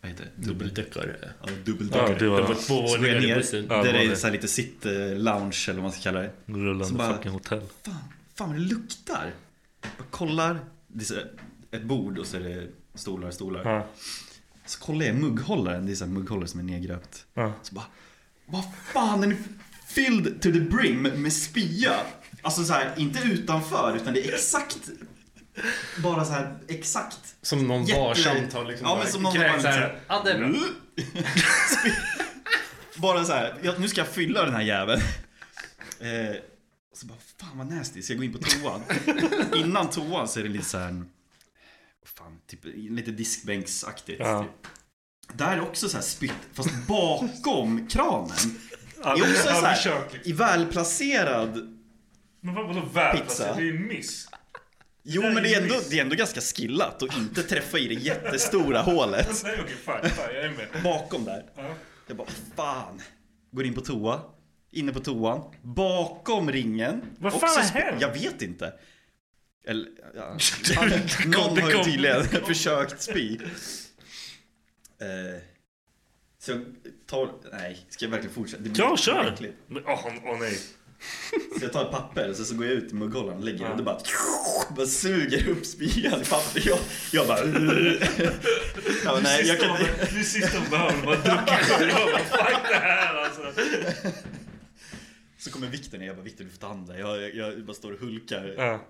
Speaker 3: Vad heter det?
Speaker 6: Dubbeldäckare.
Speaker 3: Ja, dubbeldäckare.
Speaker 1: Ja, det var- Det var två
Speaker 3: så går
Speaker 1: våningar
Speaker 3: jag
Speaker 1: i
Speaker 3: ner,
Speaker 1: bussen. Ja,
Speaker 3: där
Speaker 1: det var
Speaker 3: är det
Speaker 1: det.
Speaker 3: så här lite sitt-lounge eller vad man ska kalla det. Så
Speaker 1: Rullande
Speaker 3: bara-
Speaker 1: fucking hotell.
Speaker 3: Fan, fan vad det luktar! Jag kollar, det är så här ett bord och så är det stolar, stolar.
Speaker 1: Ja.
Speaker 3: Så kollar jag i mugghållaren, det är så här mugghållare som är nedgröpt.
Speaker 1: Ja.
Speaker 3: Så bara, vad fan är ni filled to the brim med spya? Alltså så här, inte utanför utan det är exakt, bara så här exakt.
Speaker 6: Som någon
Speaker 3: Jätte-
Speaker 6: varsamt har liksom
Speaker 3: Ja,
Speaker 6: bara
Speaker 3: men som någon
Speaker 6: kräkt
Speaker 3: bara
Speaker 6: så här,
Speaker 3: liksom-
Speaker 6: Ja, det är bra.
Speaker 3: (laughs) Bara så här, "Ja, nu ska jag fylla den här jäveln. Eh, så bara, fan vad nasty, ska jag gå in på toan?
Speaker 1: (laughs)
Speaker 3: Innan toan så är det lite så här, en- fan, typ, lite diskbänksaktigt.
Speaker 1: Ja.
Speaker 3: Typ. Där är också så här spytt, fast bakom kranen. Är också så
Speaker 1: (laughs) Ja, liksom. vi
Speaker 3: här,
Speaker 1: kör.
Speaker 3: i välplacerad.
Speaker 1: Men vad- vadå värd?
Speaker 3: Pizza.
Speaker 1: Alltså, det är miss.
Speaker 3: Jo
Speaker 1: Det är
Speaker 3: men det är,
Speaker 1: ju
Speaker 3: ändå,
Speaker 1: miss.
Speaker 3: det är ändå ganska skillat att inte träffa i det jättestora hålet.
Speaker 1: Nej, okej, fine, fine. Jag är med.
Speaker 3: Bakom där.
Speaker 1: Ja.
Speaker 3: Jag bara, fan. Går in på toa. Inne på toan. Bakom ringen.
Speaker 1: Vad
Speaker 3: Också
Speaker 1: fan har
Speaker 3: sp-
Speaker 1: hänt?
Speaker 3: Jag vet inte. Eller,
Speaker 1: (laughs)
Speaker 3: ja.
Speaker 1: kom,
Speaker 3: Någon
Speaker 1: det
Speaker 3: har ju
Speaker 1: kom.
Speaker 3: tydligen (laughs) försökt spy. Eh, så jag tar, nej, ska jag verkligen fortsätta? Det blir
Speaker 1: Ja, kör!
Speaker 3: äckligt.
Speaker 1: Men, Åh åh, nej.
Speaker 3: Så jag tar ett papper, så, så går jag ut i mugghållaren och lägger den. Det bara, (laughs) bara suger upp spyan i papper. Jag, jag bara... (laughs) Ja, men nej, jag kan inte...
Speaker 1: Nu sitter hon behöver hon bara
Speaker 3: (laughs)
Speaker 1: druckit själv. Jag bara fuck det här alltså.
Speaker 3: Så kommer Viktor ner, jag bara Viktor du får ta hand om det. Jag, jag, jag bara står och hulkar.
Speaker 1: Ja.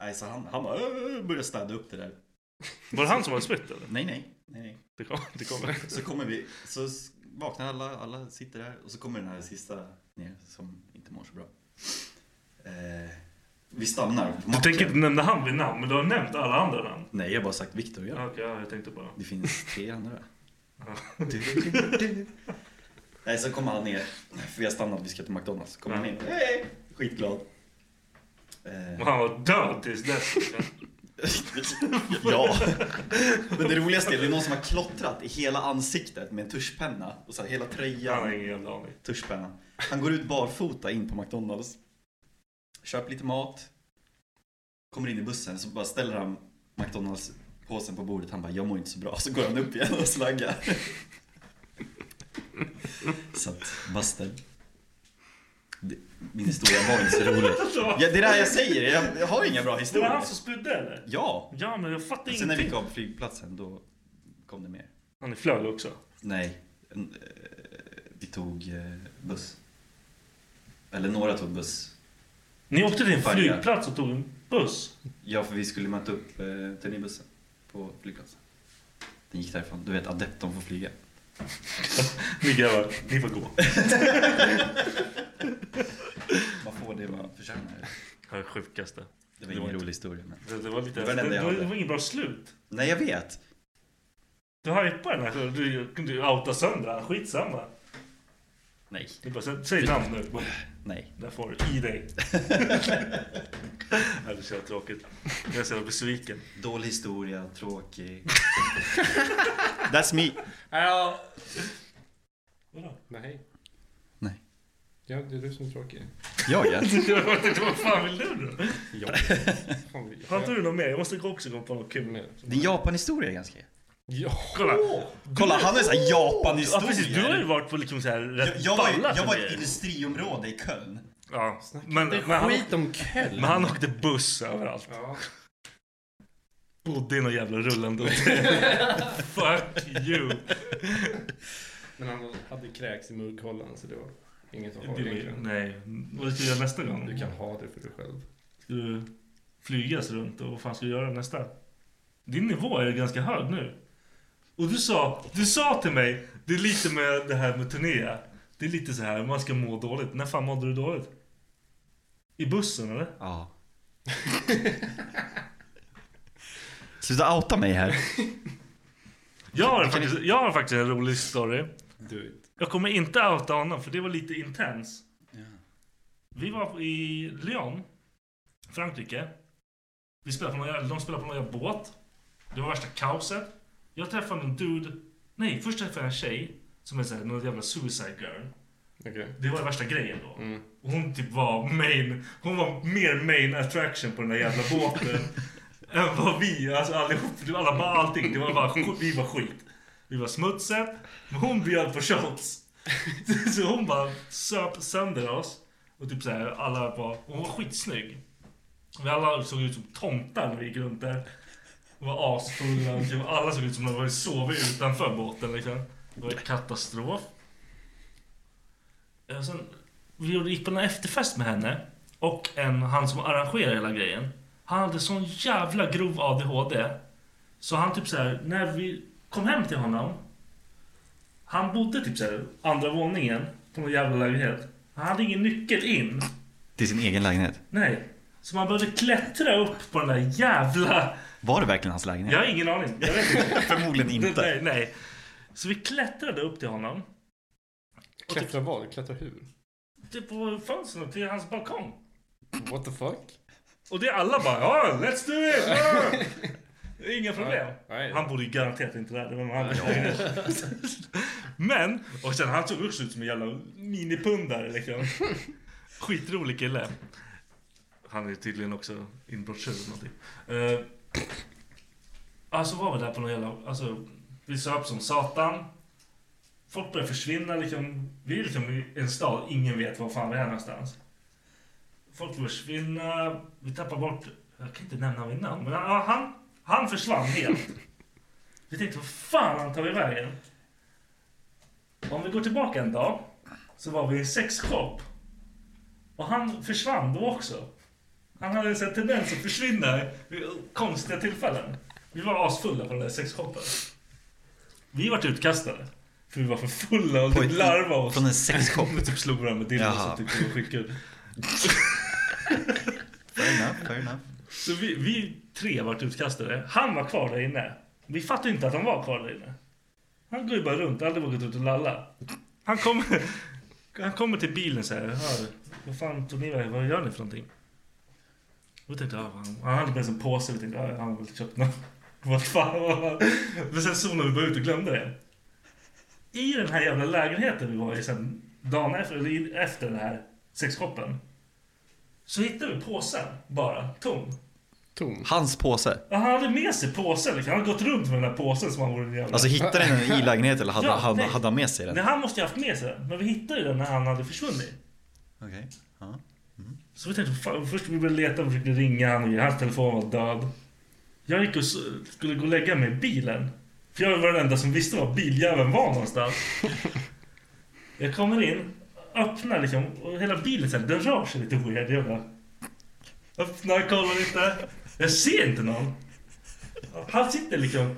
Speaker 3: Nej, så han, han bara "Åh", börjar städa upp det där.
Speaker 1: Var det han som hade spytt eller?
Speaker 3: Nej, nej, nej, nej.
Speaker 1: Det kom, det kom.
Speaker 3: Så kommer vi, så s- vaknar alla, alla sitter där och så kommer den här sista ner som inte mår så bra. Eh, vi stannar på
Speaker 1: Du
Speaker 3: macken.
Speaker 1: tänker inte nämna han vid namn, men du har nämnt alla andra namn.
Speaker 3: Nej, jag har bara sagt Viktor
Speaker 1: Ja,
Speaker 3: ja.
Speaker 1: Okej, ja, jag tänkte bara.
Speaker 3: Det finns tre andra. Du, du, du. Nej, så kommer han ner. För vi har stannat, vi ska till McDonalds. Så Kommer han in. Hej! Skitglad. Eh,
Speaker 1: Och han var död tills dess.
Speaker 3: jag, (laughs) Ja, men det roligaste är det är någon som har klottrat i hela ansiktet med en tuschpenna och så här, hela tröjan.
Speaker 1: Han har ingen jävla aning.
Speaker 3: Tuschpennan. Han går ut barfota in på McDonalds. Köper lite mat. Kommer in i bussen så bara ställer han McDonalds påsen på bordet. Han bara, jag mår inte så bra. Så går han upp igen och slaggar. så att, bastard. Det- Min historia var inte så
Speaker 1: (laughs)
Speaker 3: rolig. Ja, det är det här jag säger. Jag, jag har inga bra
Speaker 1: Det var
Speaker 3: historier.
Speaker 1: han som spydde eller?
Speaker 3: Ja.
Speaker 1: Ja men jag fattar
Speaker 3: Sen när vi
Speaker 1: ingenting.
Speaker 3: kom på flygplatsen då kom det mer.
Speaker 1: Ja, ni flög också?
Speaker 3: Nej, en, eh, vi tog eh, buss. Eller några tog buss.
Speaker 1: Ni åkte till en
Speaker 3: Varje.
Speaker 1: flygplats och tog en buss?
Speaker 3: Ja, för vi skulle möta upp eh, turnébussen på flygplatsen. Den gick därifrån. Du vet, adepton får flyga.
Speaker 1: Ni grabbar, ni får gå.
Speaker 3: Man får det man förtjänar.
Speaker 1: Det var det sjukaste.
Speaker 3: Det var ingen rolig historia. Men...
Speaker 1: Det, det var lite...
Speaker 3: Det var
Speaker 1: Det,
Speaker 3: den enda
Speaker 1: det,
Speaker 3: jag
Speaker 1: var,
Speaker 3: hade.
Speaker 1: ingen bra slut.
Speaker 3: Nej, jag vet.
Speaker 1: Du hypar den här. Du, du outar sönder den. Skitsamma.
Speaker 3: Nej.
Speaker 1: Du bara, sä- säg namn nu. Boom.
Speaker 3: Nej.
Speaker 1: Där får du. I dig. Nej, det är så jävla tråkigt. Jag är så jävla besviken.
Speaker 3: Dålig historia, tråkig. (laughs) That's me.
Speaker 6: Ja.
Speaker 1: Vadå?
Speaker 6: Nej.
Speaker 3: Nej.
Speaker 6: Ja, det är du som är tråkig.
Speaker 3: Jag (laughs) ja.
Speaker 1: Jag tänkte, (laughs) vad fan vill du då?
Speaker 6: Ja. Fan, vi-
Speaker 1: (laughs) Har inte du något mer? Jag måste också gå på något kul. Med.
Speaker 3: Din Japan-historia är ganska...
Speaker 6: Ja.
Speaker 1: Kolla!
Speaker 3: Kolla, han har ju såhär
Speaker 1: Ja
Speaker 3: Japan-historia.
Speaker 1: precis, du har ju varit på liksom så här
Speaker 3: Jag,
Speaker 1: rätt
Speaker 3: jag, var,
Speaker 1: balla
Speaker 3: jag var i
Speaker 1: turnéer.
Speaker 3: ett industriområde i Köln.
Speaker 1: Ja, men,
Speaker 6: Det är
Speaker 1: men, han,
Speaker 6: skit om Köln.
Speaker 1: men han åkte buss överallt.
Speaker 6: Ja.
Speaker 1: Bodde i någon jävla rullande Fuck you!
Speaker 6: Men han hade kräks i mugghållaren så det var inget att ha
Speaker 1: Det,
Speaker 6: egentligen.
Speaker 1: nej, vad ska du göra nästa gång?
Speaker 6: Du kan ha det för dig själv.
Speaker 1: Ska du flygas runt och vad fan ska du göra nästa? Din nivå är ganska hög nu. Och du sa, du sa till mig, det är lite med det här med turné. Det är lite så här, man ska må dåligt. När fan mådde du dåligt? I bussen eller?
Speaker 3: Ja. (laughs) Sluta outa mig här.
Speaker 1: Jag har, faktiskt, jag har faktiskt en rolig story.
Speaker 6: Do it.
Speaker 1: Jag kommer inte outa honom för det var lite intens. Vi var i Lyon, Frankrike. Vi spelade på någon, jävla- de spelade på någon jävla båt. Det var värsta kaoset. Jag träffade en dude. Nej, först träffade jag en tjej som är såhär, någon jävla suicide girl.
Speaker 6: Okej.
Speaker 1: Det var värsta grejen då. Och hon typ var main, hon var mer main attraction på den där jävla båten. än vad vi, alltså allihop, det var alla, bara allting. Det var bara, sk- vi var skit. Vi var smutset, men hon bjöd på shots. Så hon bara söp sönder oss. Och typ såhär, alla var, hon var skitsnygg. Vi alla såg ut som tomtar när vi gick runt där. Och var asfulla. Typ Alla såg ut som de hade sovit utanför båten liksom. Det var katastrof. Eh, Sen, vi gjorde- gick på en efterfest med henne och en, han som arrangerade hela grejen. Han hade sån jävla grov ADHD. Så han typ så här, när vi kom hem till honom. Han bodde typ så här, andra våningen på någon jävla lägenhet. Han hade ingen nyckel in.
Speaker 3: Till sin egen lägenhet.
Speaker 1: Nej. Så man behövde klättra upp på den där jävla...
Speaker 3: Var det verkligen hans lägenhet?
Speaker 1: Jag har ingen aning. Jag vet inte.
Speaker 3: Förmodligen inte.
Speaker 1: (laughs) Nej, nej. Så vi klättrade upp till honom.
Speaker 6: Klättra vad? Klättra hur?
Speaker 1: Typ på fönstren till hans balkong.
Speaker 6: What the fuck?
Speaker 1: Och det är alla bara ja, let's do it! ja." Det är Inga problem.
Speaker 6: Ja, ja, ja.
Speaker 1: Han borde ju garanterat inte där. Det var någon annan. Men, och sen han såg också ut som en jävla minipundare liksom. Skitrolig kille. Han är tydligen också inbrottstjuv eller någonting. Eh, alltså var vi där på någon jävla, alltså vi söp som satan. Folk börjar försvinna liksom. Vi är liksom i en stad, ingen vet var fan vi är någonstans. Folk försvinner, vi tappar bort, jag kan inte nämna min namn, men ja, han, han försvann helt. Vi tänkte, vad fan han tar vi vägen? Om vi går tillbaka en dag, så var vi i en sexshop. Och han försvann då också. Han hade en sån här tendens att försvinna vid konstiga tillfällen. Vi var asfulla på den där sexshopen. Vi vart utkastade. För vi var för fulla och
Speaker 3: På
Speaker 1: typ
Speaker 3: ett-
Speaker 1: larvade oss.
Speaker 3: Från
Speaker 1: (laughs)
Speaker 3: en sexshop.
Speaker 1: Vi typ slog varandra med dildos
Speaker 3: Jaha.
Speaker 1: och tyckte det var skitkul.
Speaker 3: Fair enough, fair enough.
Speaker 1: Så vi, vi tre vart utkastade. Han var kvar där inne. Vi fattade inte att han var kvar där inne. Han går ju bara runt, aldrig vågat ut och lalla. Han kommer, han kommer till bilen så här. "Hör, Vad fan tog ni vägen? Vad gör ni för någonting? Och vi tänkte, ja, han, han hade med sig en påse. Vi tänkte, ja, han har väl köpt någon liksom (laughs) Vad fan vad fan. Men sen zonade vi bara ut och glömde det. I den här jävla lägenheten vi var i sen dagen efter, eller i- efter den här sexkoppen. Så hittade vi påsen bara, tom.
Speaker 6: Tom.
Speaker 3: Hans påse.
Speaker 1: Ja, Han hade med sig påsen, liksom. han hade gått runt med den här påsen som han vore en jävla...
Speaker 3: Alltså hittade ni den i lägenheten eller hade,
Speaker 1: Ja,
Speaker 3: hade,
Speaker 1: nej.
Speaker 3: hade han med sig den?
Speaker 1: Nej, han måste ju ha haft med sig den. Men vi hittade ju den när han hade försvunnit.
Speaker 3: Okej. Ja.
Speaker 1: Så vi tänkte, fan, först vi började leta och försökte ringa han och hans telefon var död. Jag gick och s- skulle gå och lägga mig i bilen. För jag var den enda som visste var biljäveln var någonstans. Jag kommer in, öppnar liksom och hela bilen så här, den rör sig lite weird. Jag bara, öppnar, kollar lite. Jag ser inte någon. Han sitter liksom,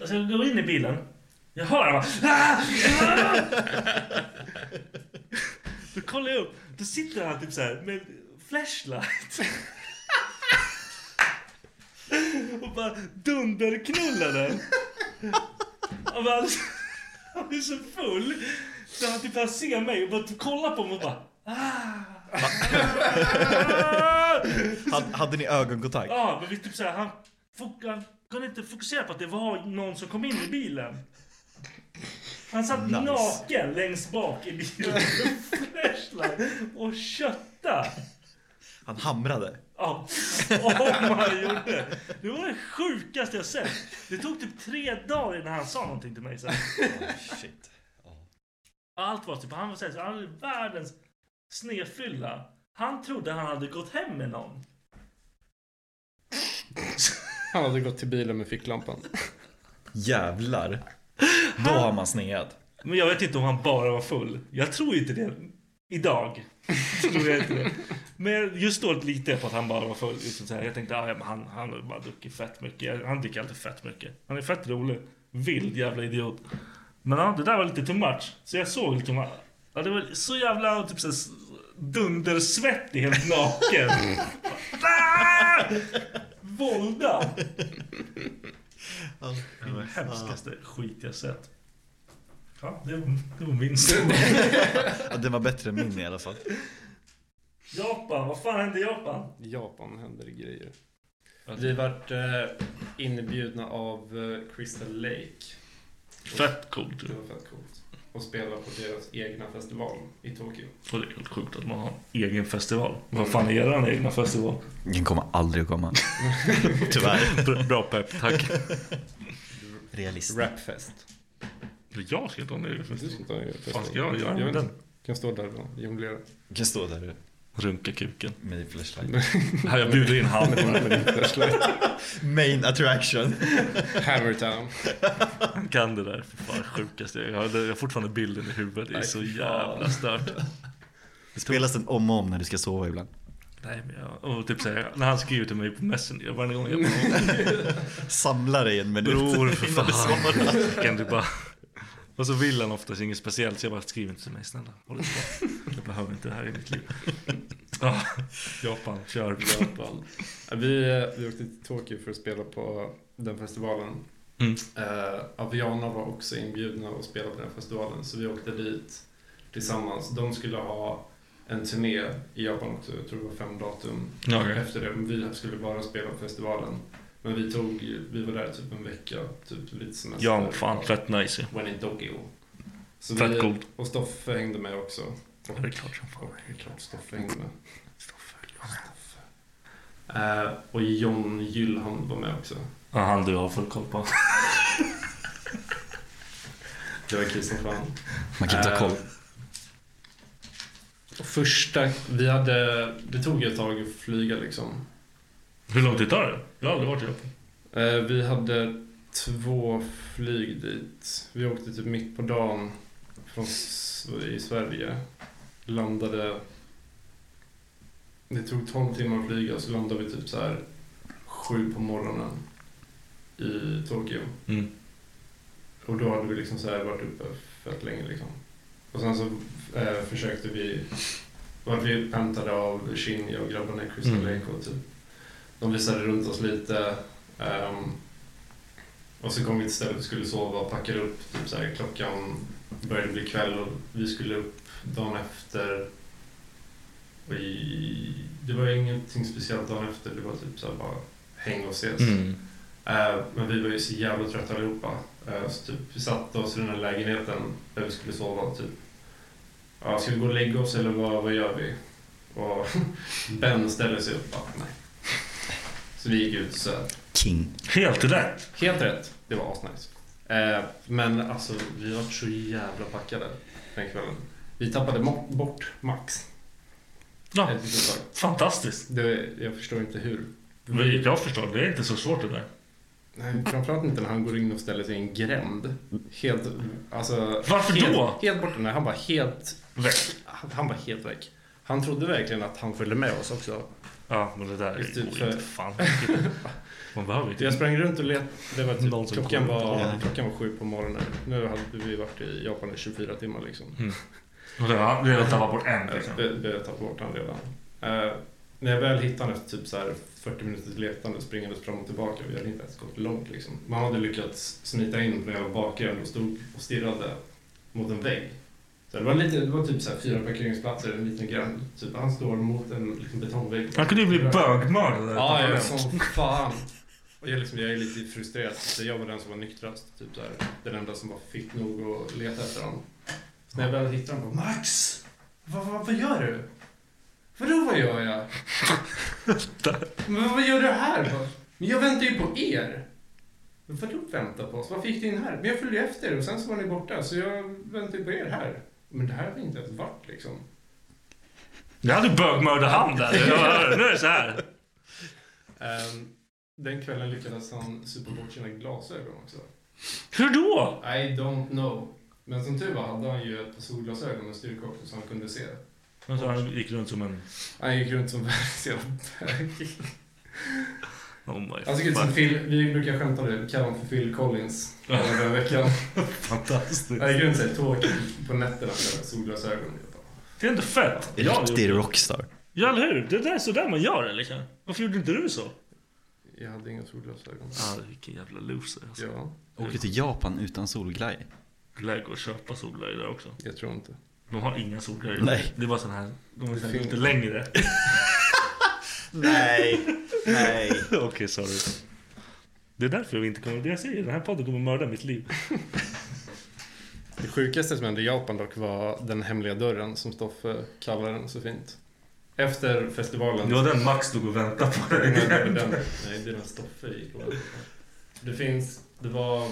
Speaker 1: alltså jag går in i bilen. Jag hör bara, "Ah! Ah!" Då kollar jag upp, då sitter han typ så här med flashlight. Och bara dunderknullar den. Och bara, alltså, han är så full. Så han typ han ser mig och bara kollar på mig och bara ah.
Speaker 3: Hade, hade ni ögonkontakt?
Speaker 1: Ja, men vi typ såhär, han, fok- han kunde inte fokusera på att det var någon som kom in i bilen. Han satt
Speaker 3: Nice.
Speaker 1: naken längst bak i bilen med flashlight och kötta.
Speaker 3: Han hamrade.
Speaker 1: Ja, om han gjorde. Det var det sjukaste jag sett. Det tog typ tre dagar innan han sa någonting till mig sen.
Speaker 3: shit.
Speaker 1: Allt var typ, han var såhär, så han hade världens snedfylla. Han trodde han hade gått hem med någon.
Speaker 6: Han hade gått till bilen med ficklampan.
Speaker 3: Jävlar. Då har man sneat.
Speaker 1: Men jag vet inte om han bara var full. Jag tror inte det. Idag. tror jag inte det. Men just då litar jag på att han bara var full. Liksom så här. Jag tänkte ah, ja, men han, han har bara druckit fett mycket. Han dricker alltid fett mycket. Han är fett rolig. Vild jävla idiot. Men ja, det där var lite too much. Så jag såg liksom... Ja, det var så jävla typ så här, dundersvettig, helt naken. ah! Vålda! Det är det hemskaste skit jag sett. Ja, det var, det var min story.
Speaker 3: Ja, den var bättre än min i alla fall.
Speaker 1: (laughs) Japan, vad fan hände i Japan?
Speaker 6: Japan händer det grejer.
Speaker 1: Okej.
Speaker 6: Vi vart eh, inbjudna av eh, Crystal Lake.
Speaker 1: Fett coolt.
Speaker 6: Det var fett coolt. Och spela på deras egna festival i Tokyo.
Speaker 1: Och det är helt sjukt att man har en egen festival. Vad fan är eran egna festival?
Speaker 3: Den kommer aldrig att komma. Tyvärr.
Speaker 1: (laughs) Bra, bra pepp, tack.
Speaker 3: Realist.
Speaker 6: Rapfest.
Speaker 1: Jag ska inte ha en egen
Speaker 6: Du ska
Speaker 1: festival.
Speaker 6: inte ha en egen
Speaker 1: Fan ska jag göra
Speaker 6: Jag
Speaker 1: med
Speaker 6: vet
Speaker 1: den?
Speaker 6: inte. Kan stå där och jonglera.
Speaker 3: Kan stå där
Speaker 1: Runka kuken.
Speaker 3: med flashlight.
Speaker 6: (laughs)
Speaker 1: Här, jag bjuder in han.
Speaker 3: Main attraction.
Speaker 6: Hammertown.
Speaker 1: Han kan det där. För fan, sjukaste. Jag har, jag har fortfarande bilden i huvudet. Det är så jävla stört.
Speaker 3: Det spelas den om och om när du ska sova ibland.
Speaker 1: Nej, men jag, och typ såhär, när han skriver till mig på Messenger varje gång (laughs) jag bara,
Speaker 3: Samla dig en minut
Speaker 1: Bror
Speaker 3: (laughs)
Speaker 1: för
Speaker 3: innan du
Speaker 1: fan.
Speaker 3: svarar.
Speaker 1: Kan du bara... Och så vill han oftast inget speciellt så jag bara skriver inte till mig snälla. Håll inte på. Jag behöver inte det här i mitt liv. Ja, Japan, kör.
Speaker 6: Japan. Vi, eh, vi åkte till Tokyo för att spela på den festivalen.
Speaker 1: Mm.
Speaker 6: Eh, Aviana var också inbjudna att spela på den festivalen så vi åkte dit tillsammans. De skulle ha en turné i Japan också, jag tror det var fem datum
Speaker 1: Ja, okej.
Speaker 6: efter det. Men vi skulle bara spela på festivalen. Men vi, tog, vi var där typ en vecka, typ lite semester.
Speaker 1: Ja, men fan fett nice ju.
Speaker 6: When in Tokyo. Så
Speaker 1: Fett
Speaker 6: vi-
Speaker 1: coolt.
Speaker 6: Och Stoffe hängde med också.
Speaker 1: Ja, Det är klart som fan.
Speaker 6: Det är klart Stoffe hängde med. Stoffe. Eh, och John Gyllholm var med också.
Speaker 1: Ja, han du har full koll på.
Speaker 6: Det var kul som fan.
Speaker 3: Man kan inte ha koll.
Speaker 6: Eh, och första, vi hade, det tog ett tag att flyga liksom.
Speaker 1: Hur lång tid tar det? Jag har aldrig varit i Japan.
Speaker 6: Eh, vi hade två flyg dit. Vi åkte typ mitt på dagen från, S- i Sverige. Landade... Det tog 12 timmar att flyga så landade vi typ så här sju på morgonen i Tokyo.
Speaker 1: Mm.
Speaker 6: Och då hade vi liksom så här varit uppe fett länge liksom. Och sen så eh, försökte vi, var vi upphämtade av Shinji och grabbarna i Crystal
Speaker 1: Mm.
Speaker 6: Lake och typ. De visade runt oss lite. ehm, och så kom vi till stället vi skulle sova och packade upp. Typ så här, klockan började bli kväll och vi skulle upp dagen efter. Och i, det var ingenting speciellt dagen efter. Det var typ så här bara häng och ses. Eh, Men vi var ju så jävla trötta allihopa. Eh, Så typ, vi satte oss i den här lägenheten där vi skulle sova. Typ. Ja, ska vi gå och lägga oss eller vad, vad gör vi? Och Ben ställer sig upp. Bara, nej. Så vi gick ut och söp.
Speaker 3: King.
Speaker 1: Helt rätt.
Speaker 6: Helt rätt. Det var asnice. Eh, men alltså, vi var så jävla packade den kvällen. Vi tappade mo- bort Max.
Speaker 1: Ja,
Speaker 6: Ett litet tag.
Speaker 1: fantastiskt.
Speaker 6: Det, jag förstår inte hur.
Speaker 1: Men Jag förstår, det är inte så svårt det där.
Speaker 6: Nej, framförallt inte när han går in och ställer sig i en gränd. Helt, alltså,
Speaker 1: Varför
Speaker 6: helt,
Speaker 1: då?
Speaker 6: Helt borta. Nej, han var helt
Speaker 1: Väck.
Speaker 6: Han, han var helt väck. Han trodde verkligen att han följde med oss också.
Speaker 1: Ja, men det där
Speaker 6: Just
Speaker 1: går
Speaker 6: det,
Speaker 1: ju
Speaker 6: för-
Speaker 1: inte fan. Man behöver
Speaker 6: typ, Jag
Speaker 1: inte.
Speaker 6: sprang runt och letade. Det var
Speaker 1: Någon
Speaker 6: typ,
Speaker 1: som
Speaker 6: klockan,
Speaker 1: kom.
Speaker 6: var,
Speaker 1: Ja.
Speaker 6: klockan var sju på morgonen. Nu hade vi varit i Japan i 24 timmar liksom. Eh,
Speaker 1: Mm. Och det har- Vi har tappat bort en
Speaker 6: Jag
Speaker 1: liksom.
Speaker 6: behöver ta bort den redan. Eh, när jag väl hittade den efter typ så här 40 minuters letande springandes fram och tillbaka. Vi hade inte ens gått långt liksom. Man hade lyckats smita in när jag var bakgrund och stod och stirrade mot en vägg. Så det, var lite, det var typ så här fyra parkeringsplatser, en liten grann. Typ han står mot en liksom, betongvägg.
Speaker 1: Han kunde ju bli bögmördare.
Speaker 6: Ja, jag är som fan. Och jag, liksom, jag är lite frustrerad. Så jag var den som var nykterast. Typ så här, den enda som var fick nog att leta efter honom. Så när jag väl hittade honom bara Max! Vad, vad, vad gör du? Vadå vad gör jag? Men vad gör du här? Bara, Men jag väntar ju på er. Men Vadå vänta på oss? Varför gick du in här? Men jag följde ju efter er och sen så var ni borta så jag väntar ju på er här. Men det här har inte ens varit liksom.
Speaker 1: Jag hade bögmördarhand där. Jag bara, Nu är det så här.
Speaker 6: Ehm, den kvällen lyckades han supa bort sina glasögon också.
Speaker 1: Hur då?
Speaker 6: I don't know. Men som tur var hade han ju ett par solglasögon med styrka också så han kunde se.
Speaker 1: Men så han gick runt som en...
Speaker 6: Han gick runt som världens jävla bög.
Speaker 1: Oh my
Speaker 6: Han såg ut Alltså, som Phil, vi brukar skämta om det, kalla honom för Phil (laughs) Collins. Hela den veckan.
Speaker 1: Fantastiskt.
Speaker 6: Han gick runt såhär tråkig på nätterna med solglasögon.
Speaker 1: Det är inte fett.
Speaker 3: Riktig rockstar.
Speaker 1: Ja, eller hur? Det där är sådär man gör det liksom. Varför gjorde inte du så?
Speaker 6: Jag hade inga solglasögon.
Speaker 1: Ah, vilken jävla loser alltså.
Speaker 6: Ja,
Speaker 3: Åker till Japan utan solglajjor.
Speaker 1: Lär gå och köpa solglajjor där också.
Speaker 6: jag tror inte.
Speaker 1: De har inga solglajjor.
Speaker 3: Nej.
Speaker 1: Det är bara sån här. De är
Speaker 6: Det
Speaker 1: sån här
Speaker 6: finns-
Speaker 1: lite
Speaker 6: (laughs)
Speaker 1: längre.
Speaker 3: Nej, nej.
Speaker 1: Okej, sorry. Det är därför vi inte kommer... Det jag säger, den här podden kommer mörda mitt liv.
Speaker 6: Det sjukaste som hände i Japan dock var den hemliga dörren som Stoffe kallar den så fint. Efter festivalen
Speaker 1: Det var den Max stod och väntade på.
Speaker 6: Nej, det är den- (laughs) nej, det är den Stoffe gick och väntade på. Det finns, det var...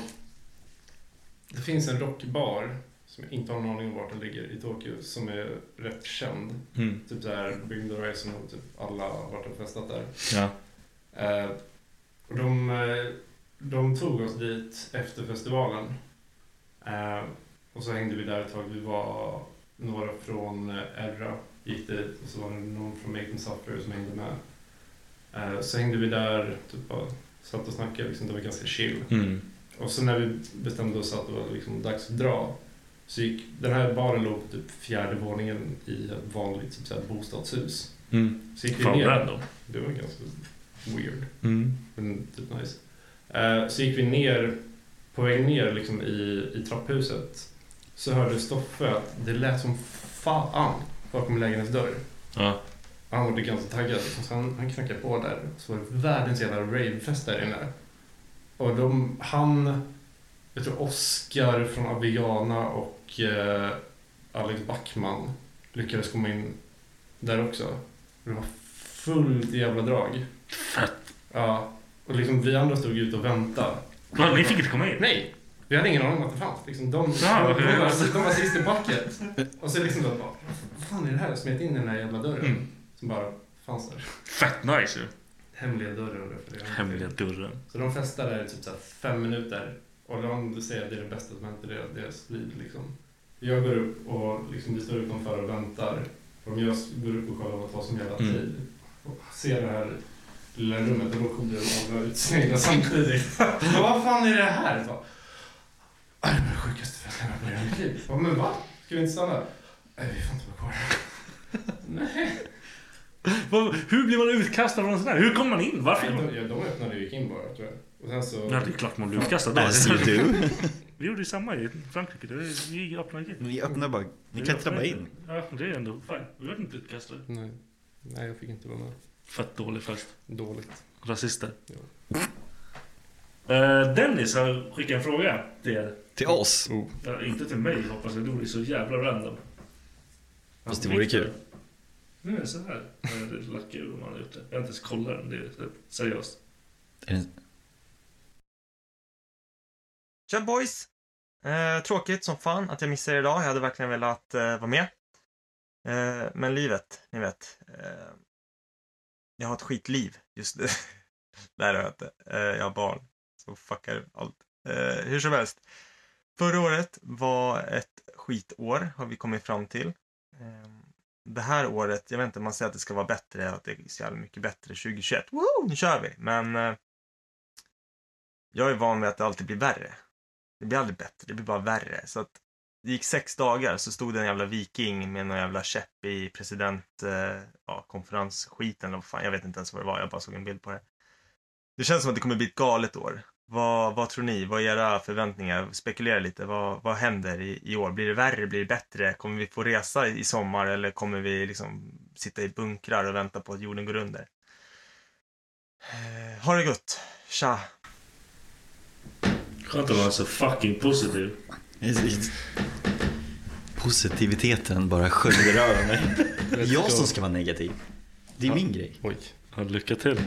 Speaker 6: Det finns en rockbar som jag inte har någon aning om vart den ligger i Tokyo som är rätt känd.
Speaker 1: Mm.
Speaker 6: Typ såhär byggd och rejsen och typ alla har varit och festat där.
Speaker 1: Ja.
Speaker 6: Eh, och de, eh, de tog oss dit efter festivalen. Eh, och så hängde vi där ett tag. Vi var några från eh, Erra gick dit och så var det någon från Make Them Suffer som hängde med. Eh, så hängde vi där, typ bara satt och snackade. Liksom, det var ganska chill.
Speaker 1: Mm.
Speaker 6: Och så när vi bestämde oss att det var liksom dags att dra så gick den här baren låg på typ fjärde våningen i ett vanligt typ så här, bostadshus.
Speaker 1: Mm.
Speaker 6: Så gick vi
Speaker 1: Fan,
Speaker 6: ner.
Speaker 1: random.
Speaker 6: Det var ganska weird.
Speaker 1: Mm.
Speaker 6: Men typ nice. Eh, så gick vi ner, på väg ner liksom i, i trapphuset så hörde Stoffe att det lät som fan bakom lägenhetsdörr.
Speaker 1: Ja.
Speaker 6: Han var ganska taggad. Så han, han knackade på där. Så var det världens jävla ravefest där inne. Och de, han, jag tror Oscar från Aviana och eh, Alex Backman lyckades komma in där också. Det var fullt jävla drag.
Speaker 1: Fett.
Speaker 6: Ja. Och liksom vi andra stod ute och väntade.
Speaker 1: Va, ni fick inte komma in?
Speaker 6: Nej! Vi hade ingen aning om att det fanns. Liksom, de,
Speaker 1: Ja,
Speaker 6: de, de,
Speaker 1: Ah, okej.
Speaker 6: var, de var sist i bucket. Och så liksom bara, vad fan är det här? Smet in i den här jävla dörren.
Speaker 1: Mm.
Speaker 6: Som bara fanns där.
Speaker 1: Fett nice ju.
Speaker 6: Hemliga dörren refererar jag
Speaker 1: Hemliga
Speaker 6: till.
Speaker 1: dörren.
Speaker 6: Så de festade där i typ så här fem minuter. Och de säger att det är det bästa som hänt i deras, deras liv. Liksom. Jag går upp och liksom, vi står utanför och väntar. Och jag går upp och kollar vad som gäller
Speaker 1: Mm.
Speaker 6: tid. Och ser det här lilla rummet och då kommer de alla utsvängda (laughs) samtidigt. Men vad fan är det här? Bara, "Aj, det var det sjukaste festen jag har varit på i hela mitt liv. Bara, Men va? Ska vi inte stanna? Nej, vi får inte vara kvar. Nej.
Speaker 1: Vad- Hur blir man utkastad från en sån här? Hur kommer man in? Varför?
Speaker 6: Nej, de, ja, de öppnade och gick in bara tror jag. Och sen så...
Speaker 1: Ja, det är klart man blir utkastad då.
Speaker 3: As you
Speaker 6: (laughs)
Speaker 3: do.
Speaker 1: Vi gjorde ju samma i Frankrike. Det är- Vi öppnade gate.
Speaker 3: Ni öppnar bara. Ni
Speaker 1: Vi
Speaker 3: klättrar bara
Speaker 1: öppnade
Speaker 3: in.
Speaker 1: gate. Ja, det är ändå fine. Vi blev inte utkastade.
Speaker 6: Nej. Nej, jag fick inte vara med.
Speaker 1: Fett dålig fest.
Speaker 6: Dåligt.
Speaker 1: Rasister.
Speaker 6: Ja.
Speaker 1: Eh, Dennis har skickat en fråga till er.
Speaker 3: Till oss?
Speaker 6: Oh.
Speaker 1: Ja, inte till mig hoppas jag, det vore så jävla random.
Speaker 3: Fast det vore kul.
Speaker 1: Nu är det så här. Eh, Det är lack ur om han har gjort det. Jag har inte ens kollat den, det är seriöst.
Speaker 10: Tja boys! Eh, tråkigt som fan att jag missade er idag. Jag hade verkligen velat eh, vara med. Eh, men livet, ni vet. Eh, jag har ett skitliv just nu. Nej, det har jag inte. Eh, jag har barn. Så fuckar allt. Eh, hur som helst. Förra året var ett skitår, har vi kommit fram till. Eh, det här året, jag vet inte, man säger att det ska vara bättre, att det är så jävla mycket bättre 2021. Woo, nu kör vi! Men eh, jag är van vid att det alltid blir värre. Det blir aldrig bättre, det blir bara värre. Så att det gick sex dagar så stod det en jävla viking med någon jävla käpp i president, eh, ja, konferensskiten eller vad fan, jag vet inte ens vad det var, jag bara såg en bild på det. Det känns som att det kommer bli ett galet år. Vad, vad tror ni? Vad är era förväntningar? Spekulera lite. Vad, vad händer i, i år? Blir det värre? Blir det bättre? Kommer vi få resa i i sommar eller kommer vi liksom sitta i bunkrar och vänta på att jorden går under? Eh, Ha det gött! Tja!
Speaker 1: Skönt att vara så fucking positiv.
Speaker 3: Positiviteten bara sköljer över (laughs) mig. Jag som ska vara negativ. Det är
Speaker 1: Ja.
Speaker 3: min grej.
Speaker 1: Oj. lycka till.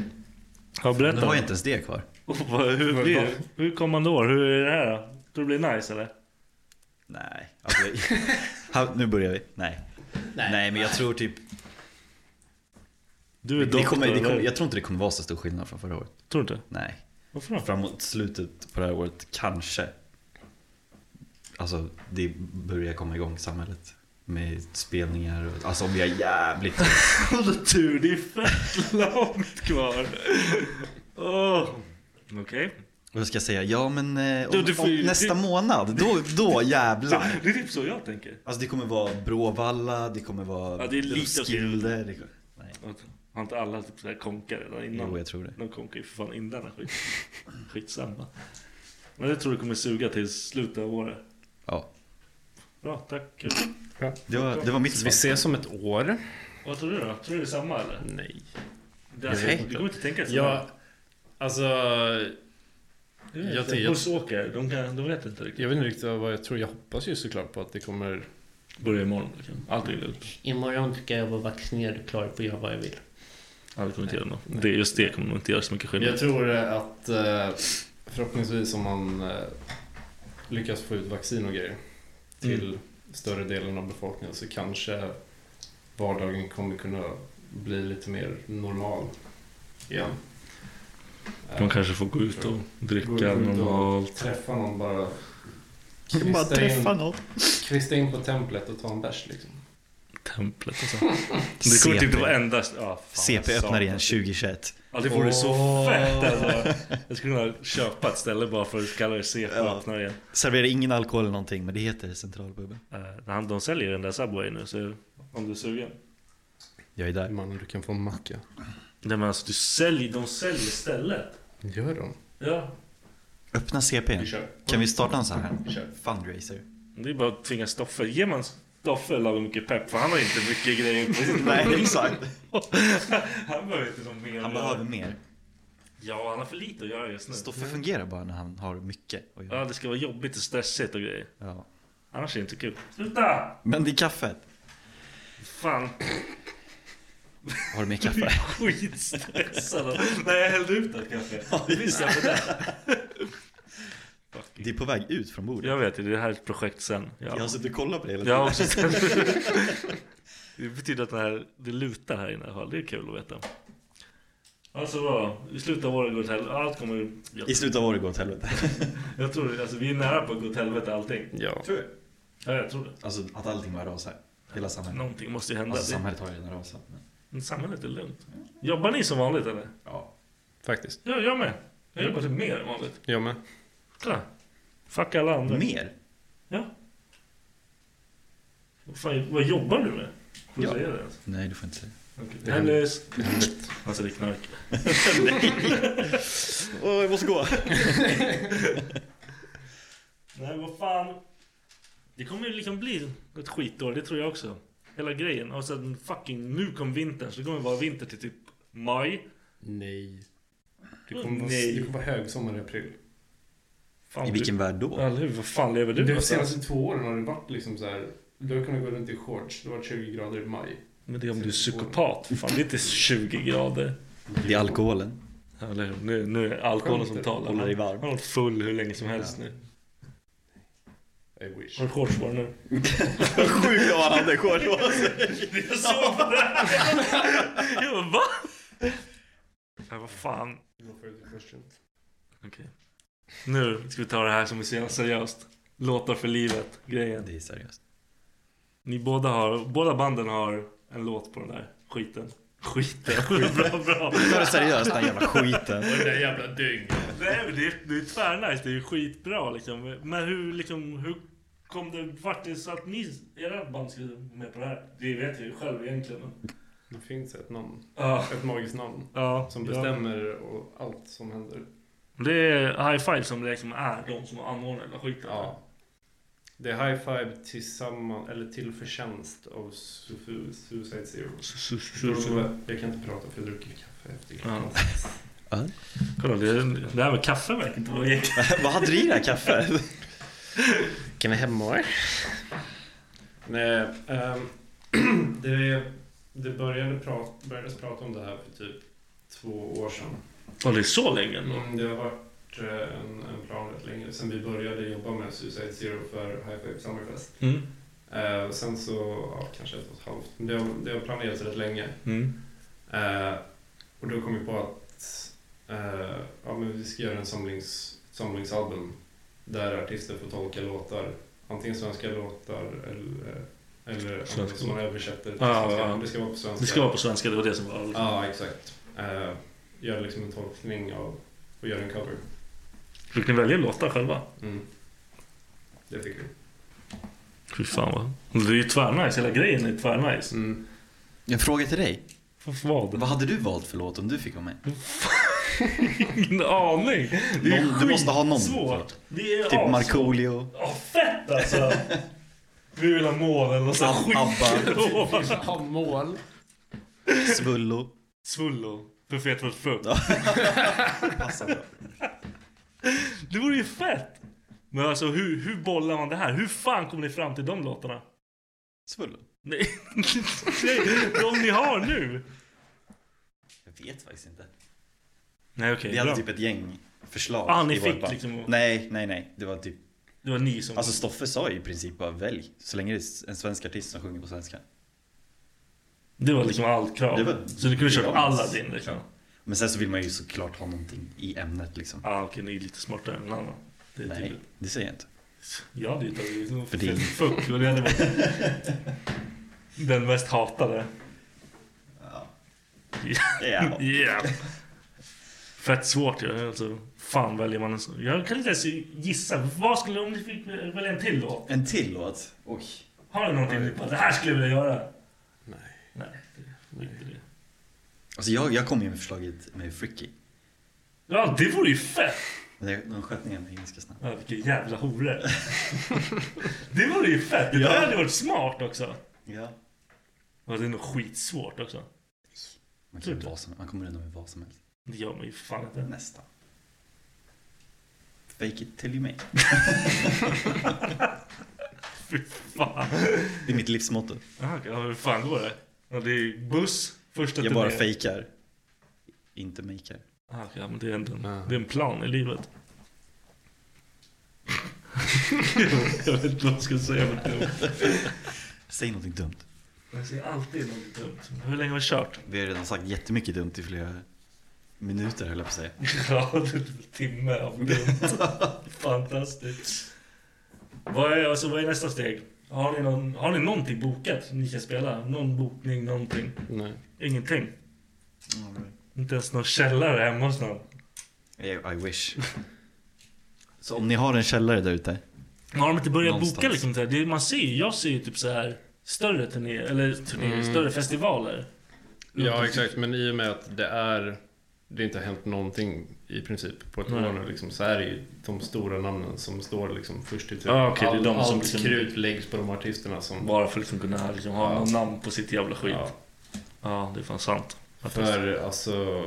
Speaker 1: Ja, berätta.
Speaker 3: Nu har jag inte ens det kvar.
Speaker 1: Och vad- Hur blir det? Hur kommande år? Hur är det här då? Tror du det blir nice eller?
Speaker 3: Nej. Alltså, jag- ha, nu börjar vi. Nej. Nej. men jag tror typ...
Speaker 1: Du är
Speaker 3: det kommer, det
Speaker 1: doktor,
Speaker 3: kommer,
Speaker 1: eller?
Speaker 3: Jag tror inte det kommer vara så stor skillnad från förra året.
Speaker 1: Tror du inte?
Speaker 3: Nej.
Speaker 1: Varför då?
Speaker 3: Framåt slutet på det här året, kanske. Alltså, det börjar komma igång samhället. Med spelningar och... Alltså om vi har jävligt...
Speaker 1: (laughs) Håll tur, det är fett (laughs) långt kvar. Åh. Okej.
Speaker 3: Och jag ska säga, ja men eh, om,
Speaker 1: Du, du får ju-
Speaker 3: om nästa
Speaker 1: du-
Speaker 3: månad, då,
Speaker 1: (laughs)
Speaker 3: då jävlar.
Speaker 1: Det är typ så jag tänker.
Speaker 3: Alltså det kommer vara Bråvalla, det kommer vara
Speaker 1: Ja, det är lite åt det-
Speaker 3: Roskilde. Det kommer... Nej.
Speaker 1: Har inte alla typ så här konkar redan innan?
Speaker 3: Jo, jag tror det.
Speaker 1: De konkar ju för fan innan den här skit. Skitsamma. Men jag tror det kommer suga till slutet av året.
Speaker 3: Ja.
Speaker 1: Bra, tack.
Speaker 3: Det var, det var mitt
Speaker 1: Så
Speaker 3: svar.
Speaker 1: vi ses
Speaker 6: om ett år.
Speaker 1: Vad tror du då? Tror du det är samma eller?
Speaker 6: Nej.
Speaker 1: Det, alltså,
Speaker 6: Nej.
Speaker 1: du kommer inte tänka så.
Speaker 6: Ja, alltså...
Speaker 1: Jag vet inte, hos åker, de, kan, de vet inte riktigt.
Speaker 6: Jag vet inte riktigt vad jag tror. Jag hoppas ju såklart på att det kommer...
Speaker 1: Börja imorgon. Liksom. Allt är lugnt.
Speaker 11: Imorgon ska jag vara vaccinerad och klar på att göra vad jag vill.
Speaker 1: Ja, det kommer inte göra något. Det, just det kommer nog inte göra så mycket skillnad.
Speaker 6: Jag tror eh, att eh, förhoppningsvis om man eh, lyckas få ut vaccin och grejer till större delen av befolkningen så kanske vardagen kommer kunna bli lite mer normal igen.
Speaker 1: De
Speaker 6: Eh,
Speaker 1: kanske får gå ut och dricka
Speaker 6: gå ut och
Speaker 1: normalt.
Speaker 6: Träffa någon bara.
Speaker 3: Kan bara
Speaker 6: Kvista
Speaker 3: träffa
Speaker 6: in-
Speaker 3: någon.
Speaker 6: Kvista in på templet och ta en bärs liksom.
Speaker 1: Templet och så. Det kommer typ det
Speaker 3: CP.
Speaker 1: var endast... Ja, fan,
Speaker 3: CP
Speaker 1: jag sa
Speaker 3: öppnar
Speaker 1: det.
Speaker 3: igen 2021.
Speaker 1: Ja, det vore så
Speaker 6: Åh.
Speaker 1: fett alltså. Jag skulle kunna köpa ett ställe bara för att kalla det CP och öppna det igen.
Speaker 3: Serverar ingen alkohol eller någonting, men det heter centralpubben.
Speaker 1: Uh, de säljer den där Subway nu, så om du är sugen.
Speaker 3: Jag är där.
Speaker 6: Mannen, du kan få en macka.
Speaker 1: Nej men alltså, du säljer, de säljer stället.
Speaker 6: Gör de?
Speaker 1: Ja.
Speaker 3: Öppna CP.
Speaker 1: Vi kör.
Speaker 3: Kan vi starta en sån här?
Speaker 1: Vi kör.
Speaker 3: Fundraiser.
Speaker 1: Det är bara att tvinga Stoffe. Ge man Stoffe lagom mycket pepp, för han har inte mycket grejer på sitt
Speaker 3: (laughs) Nej, exakt.
Speaker 1: (laughs) Han behöver inte någon mer.
Speaker 3: Han behöver mer.
Speaker 1: Ja, han har för lite att göra just nu.
Speaker 3: Stoffe fungerar bara när han har mycket att göra.
Speaker 1: Ja, det ska vara jobbigt och stressigt och grejer.
Speaker 3: Ja.
Speaker 1: Annars är det inte kul. Sluta!
Speaker 3: Men det är kaffet.
Speaker 1: Fan.
Speaker 3: Har du mer
Speaker 1: (laughs)
Speaker 3: kaffe?
Speaker 1: Skitstressad. Nej, jag hällde ut det kanske. Det visste jag på det.
Speaker 3: Det är på väg ut från bordet.
Speaker 1: Jag vet det. Det här är ett projekt sen. Ja.
Speaker 3: Jag har suttit och kollat på det hela
Speaker 1: Jag har också
Speaker 3: tiden.
Speaker 1: sett- Det (laughs) betyder att det, här, det lutar här inne i alla fall. Det är kul att veta. Alltså bra. I slutet av året går det åt helvete. Allt kommer... Jag,
Speaker 3: I slutet av året går åt helvete.
Speaker 1: jag tror det. Alltså vi är nära på att gå åt helvete allting.
Speaker 6: Ja.
Speaker 3: Tror du?
Speaker 1: Ja, jag tror det.
Speaker 3: Alltså att allting bara rasar. Hela samhället.
Speaker 1: Någonting måste ju hända.
Speaker 3: Alltså
Speaker 1: Det-
Speaker 3: samhället har ju redan rasat. Men...
Speaker 1: Men samhället är lugnt. Jobbar ni som vanligt eller?
Speaker 3: Ja.
Speaker 6: Faktiskt.
Speaker 1: Ja, jag med. Jag jobbar typ mer än vanligt.
Speaker 6: Jag med.
Speaker 1: Kolla. Fuck alla andra.
Speaker 3: Mer?
Speaker 1: Ja. Vad, fan, vad jobbar du med? Får du
Speaker 3: Ja.
Speaker 1: säga det alltså? ens?
Speaker 3: Nej, du får inte säga.
Speaker 1: Okej. Hemlis. Alltså det är knark.
Speaker 3: Åh, jag måste gå.
Speaker 1: Nej, vad fan. Det kommer ju liksom bli ett skitår, det tror jag också. Hela grejen. Och sen fucking, nu kom vintern. Så det kommer vara vinter till typ maj.
Speaker 6: Nej. Det
Speaker 1: Åh,
Speaker 6: kommer, vara,
Speaker 1: nej.
Speaker 6: det kommer vara högsommar i april.
Speaker 3: I vilken värld då?
Speaker 1: Eller hur? Vad fan lever du?
Speaker 6: De
Speaker 1: alltså?
Speaker 6: senaste två åren har det varit liksom så här. Du har kunnat gå runt i shorts. Det har varit 20 grader i maj.
Speaker 1: Men det är om du är psykopat. Fan, det är inte 20 grader.
Speaker 3: Det är alkoholen.
Speaker 1: Eller hur? nu, nu är det alkoholen som talar.
Speaker 3: Håller dig varm.
Speaker 1: Han har varit full hur länge som helst nu.
Speaker 6: I wish.
Speaker 1: Har du shorts på dig nu?
Speaker 3: Sjukt om han hade shorts på sig.
Speaker 1: (laughs) Jag såg det där. (laughs) Jag bara va? Ja, vad fan. Okej. Nu ska vi ta det här som är så jävla seriöst. Låtar för livet grejen.
Speaker 3: Det är seriöst.
Speaker 1: Ni båda har, båda banden har en låt på den där skiten. Skiten. (laughs) bra, bra.
Speaker 3: Ta det seriöst den jävla skiten.
Speaker 6: Den där jävla dyngen.
Speaker 1: Nej men det är, det är tvärnice, det är ju skitbra liksom. Men hur liksom, hur kom det, vart det så att ni, era band skulle med på det här? Det vet jag ju själv egentligen. men-
Speaker 6: Det finns ett namn.
Speaker 1: Ja.
Speaker 6: Ett magiskt namn.
Speaker 1: Ja.
Speaker 6: Som bestämmer och allt som händer.
Speaker 1: Det är High Five som liksom är de som anordnar hela skiten.
Speaker 6: Ja. Det är High Five tillsammans, eller till förtjänst av Su- Suicide Zero.
Speaker 1: Su-
Speaker 6: Jag kan inte prata för jag dricker kaffe efter
Speaker 1: Ja.
Speaker 6: klockan.
Speaker 1: Kolla, det, det här med kaffe verkar inte vara egentligen...
Speaker 3: (laughs) Vad hade du i det här kaffe?
Speaker 12: Kan vi hemma?
Speaker 6: Nej, ehm, (clears throat) det, det började prat, börjades prata om det här för typ två år sedan.
Speaker 1: Ja, det är så länge ändå.
Speaker 6: Mm, det har varit eh, en, en plan rätt länge sedan vi började jobba med Suicide Zero för High Five Summerfest.
Speaker 1: Mm.
Speaker 6: Eh, sen så, ja, kanske ett och ett halvt. Men det har, det har planerats rätt länge.
Speaker 1: Mm.
Speaker 6: Eh, och då kom vi på att eh, ja, men vi ska göra en samlings, samlingsalbum där artister får tolka låtar. Antingen svenska låtar eller, eller
Speaker 1: Svenska.
Speaker 6: som man översätter till
Speaker 1: Ja,
Speaker 6: svenska.
Speaker 1: ja.
Speaker 6: Men Det ska vara på svenska.
Speaker 1: Det ska vara på svenska, det var det som var...
Speaker 6: Ja, exakt. Eh, göra liksom en tolkning av och göra en cover.
Speaker 1: Fick ni välja låtar själva?
Speaker 6: Mm. Det fick vi.
Speaker 1: Fy fan vad... Det är ju tvärnice, hela grejen är tvärnice.
Speaker 6: Mm.
Speaker 3: En fråga till dig.
Speaker 1: Vad? (laughs)
Speaker 3: Vad hade du valt för låt om du fick vara med?
Speaker 1: Ingen aning! Det är
Speaker 3: Någon- du måste ha någon
Speaker 1: skitsvårt.
Speaker 3: låt.
Speaker 1: Det är
Speaker 3: Typ
Speaker 1: as-
Speaker 3: Markoolio.
Speaker 1: Ja, fett alltså! Vi vill ha mål eller nåt sånt
Speaker 3: Ab- Abba.
Speaker 1: skit.
Speaker 6: Ja, mål.
Speaker 3: Svullo.
Speaker 1: (laughs) Svullo. Buffé för full.
Speaker 3: Passar bra.
Speaker 1: Det vore ju fett! Men alltså hur, hur bollar man det här? Hur fan kom ni fram till de låtarna?
Speaker 3: Svullo?
Speaker 1: Nej, (laughs) Nej de ni har nu!
Speaker 3: Jag vet faktiskt inte.
Speaker 1: Nej okej,
Speaker 3: Vi hade
Speaker 1: bra.
Speaker 3: typ ett gäng förslag.
Speaker 1: Ah, ni
Speaker 3: i vårt
Speaker 1: fick
Speaker 3: band.
Speaker 1: liksom-
Speaker 3: Nej, nej, nej. Det var typ...
Speaker 1: Det var ni som...
Speaker 3: Alltså Stoffe sa i princip bara välj. Så länge det är en svensk artist som sjunger på svenska.
Speaker 1: det var liksom allt krav.
Speaker 3: Det var-
Speaker 1: Så ni kunde köra
Speaker 3: det
Speaker 1: på
Speaker 3: var-
Speaker 1: Aladdin liksom? Ja,
Speaker 3: Men sen så vill man ju såklart ha någonting i ämnet liksom.
Speaker 1: ah, okej ni är lite smartare än någon annan. Det är
Speaker 3: Nej,
Speaker 1: typ...
Speaker 3: det säger jag inte.
Speaker 1: Jag hade ju tagit liksom,
Speaker 3: För din-
Speaker 1: fuck, och det hade varit den mest hatade. (laughs)
Speaker 3: Ja.
Speaker 1: Yeah. Fett svårt ju. Alltså, fan väljer man en sån? Jag kan inte ens gissa. Vad skulle om ni fick välja en till låt?
Speaker 3: En till låt. Oj.
Speaker 1: Har du någonting du bara, det här skulle jag vilja göra?
Speaker 6: Nej.
Speaker 1: Nej, det är inte det.
Speaker 3: Alltså jag, jag kom ju med förslaget med Fricky.
Speaker 1: Ja, det vore ju fett!
Speaker 3: Men det- de sköt ner mig ganska snabbt.
Speaker 1: Ja, vilka jävla horor. (laughs) det vore ju fett. Det där
Speaker 3: Ja.
Speaker 1: hade varit smart också.
Speaker 3: Ja.
Speaker 1: Ja, det är nog skitsvårt också.
Speaker 3: Man, kan göra vad som, man kommer undan med vad som helst.
Speaker 1: Det gör man ju för fan inte.
Speaker 3: Nästan. Fake it till you make.
Speaker 1: Fy fan.
Speaker 3: Det är mitt livsmotto.
Speaker 1: Aha, ja, hur fan går det? Ja, det är buss första
Speaker 3: Jag bara
Speaker 1: turnén.
Speaker 3: fejkar. Inte makear.
Speaker 1: Ah, okej, ja, men det är ändå en, det är en plan i
Speaker 3: (laughs)
Speaker 1: livet. jag vet inte vad jag ska säga för dumt.
Speaker 3: Säg någonting dumt.
Speaker 1: Jag säger alltid något dumt. Hur länge har vi kört? (laughs)
Speaker 3: Vi har redan sagt jättemycket dumt i flera minuter höll jag på att säga.
Speaker 1: Ja, det är en timme av
Speaker 3: (laughs)
Speaker 1: dumt. Fantastiskt. Vad är, alltså, vad är nästa steg? Har ni, någon, har ni någonting bokat som ni ska spela? Någon bokning, någonting?
Speaker 6: Nej.
Speaker 1: Ingenting? Inte ens någon källare hemma hos någon?
Speaker 3: I, I wish. Så om ni har en källare där ute.
Speaker 1: Men Har de inte börjat
Speaker 3: Någonstans.
Speaker 1: boka liksom? så här? Det, man ser ju, jag ser ju typ så här större turnéer, eller turnéer,
Speaker 6: Mm.
Speaker 1: större festivaler.
Speaker 6: Ja, exakt. Men i och med att det är det inte har hänt någonting i princip på ett
Speaker 1: Nej.
Speaker 6: år nu liksom, så är det ju de stora namnen som står liksom först i tur.
Speaker 1: Ja, okej, det är
Speaker 6: All-
Speaker 1: de som
Speaker 6: allt
Speaker 1: liksom-
Speaker 6: krut läggs på de artisterna som...
Speaker 1: Bara för att liksom kunna liksom, ha
Speaker 6: Ja.
Speaker 1: någon namn på sitt jävla skit. Ja,
Speaker 6: Ja.
Speaker 1: det är fan sant. Att-
Speaker 6: För alltså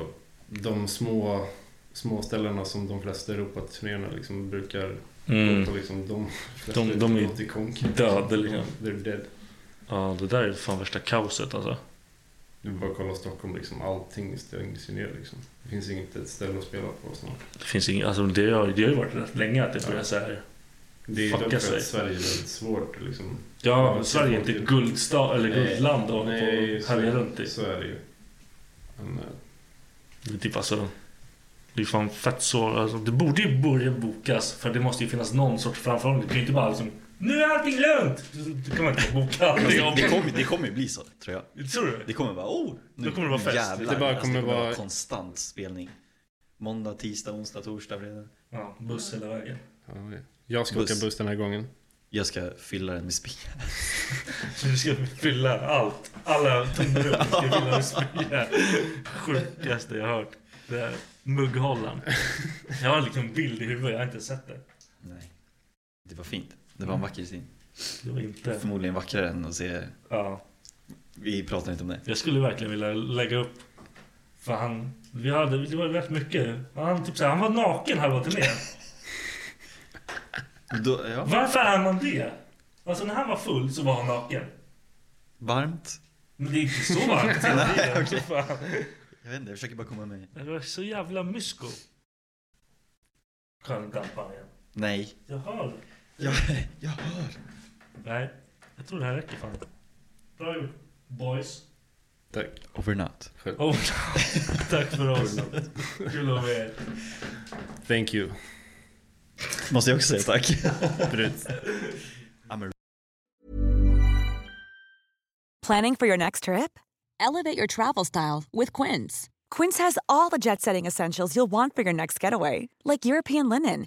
Speaker 6: de små småställena som de flesta Europaturnéerna liksom brukar
Speaker 1: Mm.
Speaker 6: gå på. Liksom, de (laughs) flesta
Speaker 1: De, de är
Speaker 6: ute i konken,
Speaker 1: ju
Speaker 6: liksom.
Speaker 1: döda liksom.
Speaker 6: De, they're dead.
Speaker 1: Ja, det där är fan värsta kaoset alltså.
Speaker 6: Du bara kolla Stockholm, liksom, allting stängs ju ner. Liksom. Det finns inget ett ställe att spela på snart.
Speaker 1: Det finns ing, alltså det har, det har ju varit rätt länge att det börjar så här
Speaker 6: Det är ju dock
Speaker 1: fucka
Speaker 6: för
Speaker 1: sig.
Speaker 6: att Sverige är väldigt svårt. Liksom.
Speaker 1: Ja, Sverige är inte ett guldsta, eller
Speaker 6: Nej,
Speaker 1: guldland att
Speaker 6: nej, så är
Speaker 1: härja
Speaker 6: det.
Speaker 1: runt i.
Speaker 6: Så är det ju. Men, eh,
Speaker 1: Det är typ alltså... Det är fan fett så... Alltså, det borde ju börja bokas för det måste ju finnas någon sorts framförhållning. Det kan ju inte bara liksom... Nu är allting lugnt! Då kan man inte boka allting.
Speaker 3: (laughs) Det, det, kommer, det kommer bli så, tror jag.
Speaker 1: Tror du?
Speaker 3: Det kommer vara, oh!
Speaker 1: Då kommer det vara fest.
Speaker 3: Jävlar,
Speaker 1: Det bara kommer
Speaker 3: alltså, det kommer vara
Speaker 1: vara-
Speaker 3: konstant spelning. Måndag, tisdag, onsdag, torsdag, fredag.
Speaker 1: Ja, buss hela vägen.
Speaker 6: Jag ska åka buss den här gången.
Speaker 3: Jag ska fylla den med spy.
Speaker 1: Du ska fylla allt. Alla tomrum ska fylla med spya. Sjukaste jag hört. Det här mugghållaren. Jag har liksom en bild i huvudet, jag har inte sett det.
Speaker 3: (laughs) Nej. Det var fint. Det
Speaker 1: Mm.
Speaker 3: var en vacker syn.
Speaker 1: Det var inte-
Speaker 3: Förmodligen vackrare än att se...
Speaker 1: Ja.
Speaker 3: Vi pratar inte om det.
Speaker 1: Jag skulle verkligen vilja lägga upp. För han, vi hade, det var rätt mycket. Han, typ så här, han var naken halva turnén.
Speaker 3: Då, ja.
Speaker 1: Varför är man det? Alltså när han var full så var han naken.
Speaker 3: Varmt?
Speaker 1: Men det är inte så
Speaker 3: (laughs)
Speaker 1: varmt hela
Speaker 3: Nej,
Speaker 1: tiden.
Speaker 3: okej.
Speaker 1: Fan.
Speaker 3: Jag vet inte, jag försöker bara komma med.
Speaker 1: Det var så jävla mysko. Skön dampan igen.
Speaker 3: Nej.
Speaker 1: Jag hör.
Speaker 3: Jag, jag hör.
Speaker 1: Nej, jag tror det här räcker fan. Bra gjort. Boys.
Speaker 6: Tack.
Speaker 3: Over and out.
Speaker 1: Oh, (laughs) tack för oss. Kul att vara med er.
Speaker 6: Thank you.
Speaker 3: Måste jag också säga tack.
Speaker 6: Brut.
Speaker 3: I'm a
Speaker 13: Planning for your next trip? Elevate your travel style with Quince. Quince has all the jet setting essentials you'll want for your next getaway, like European linen,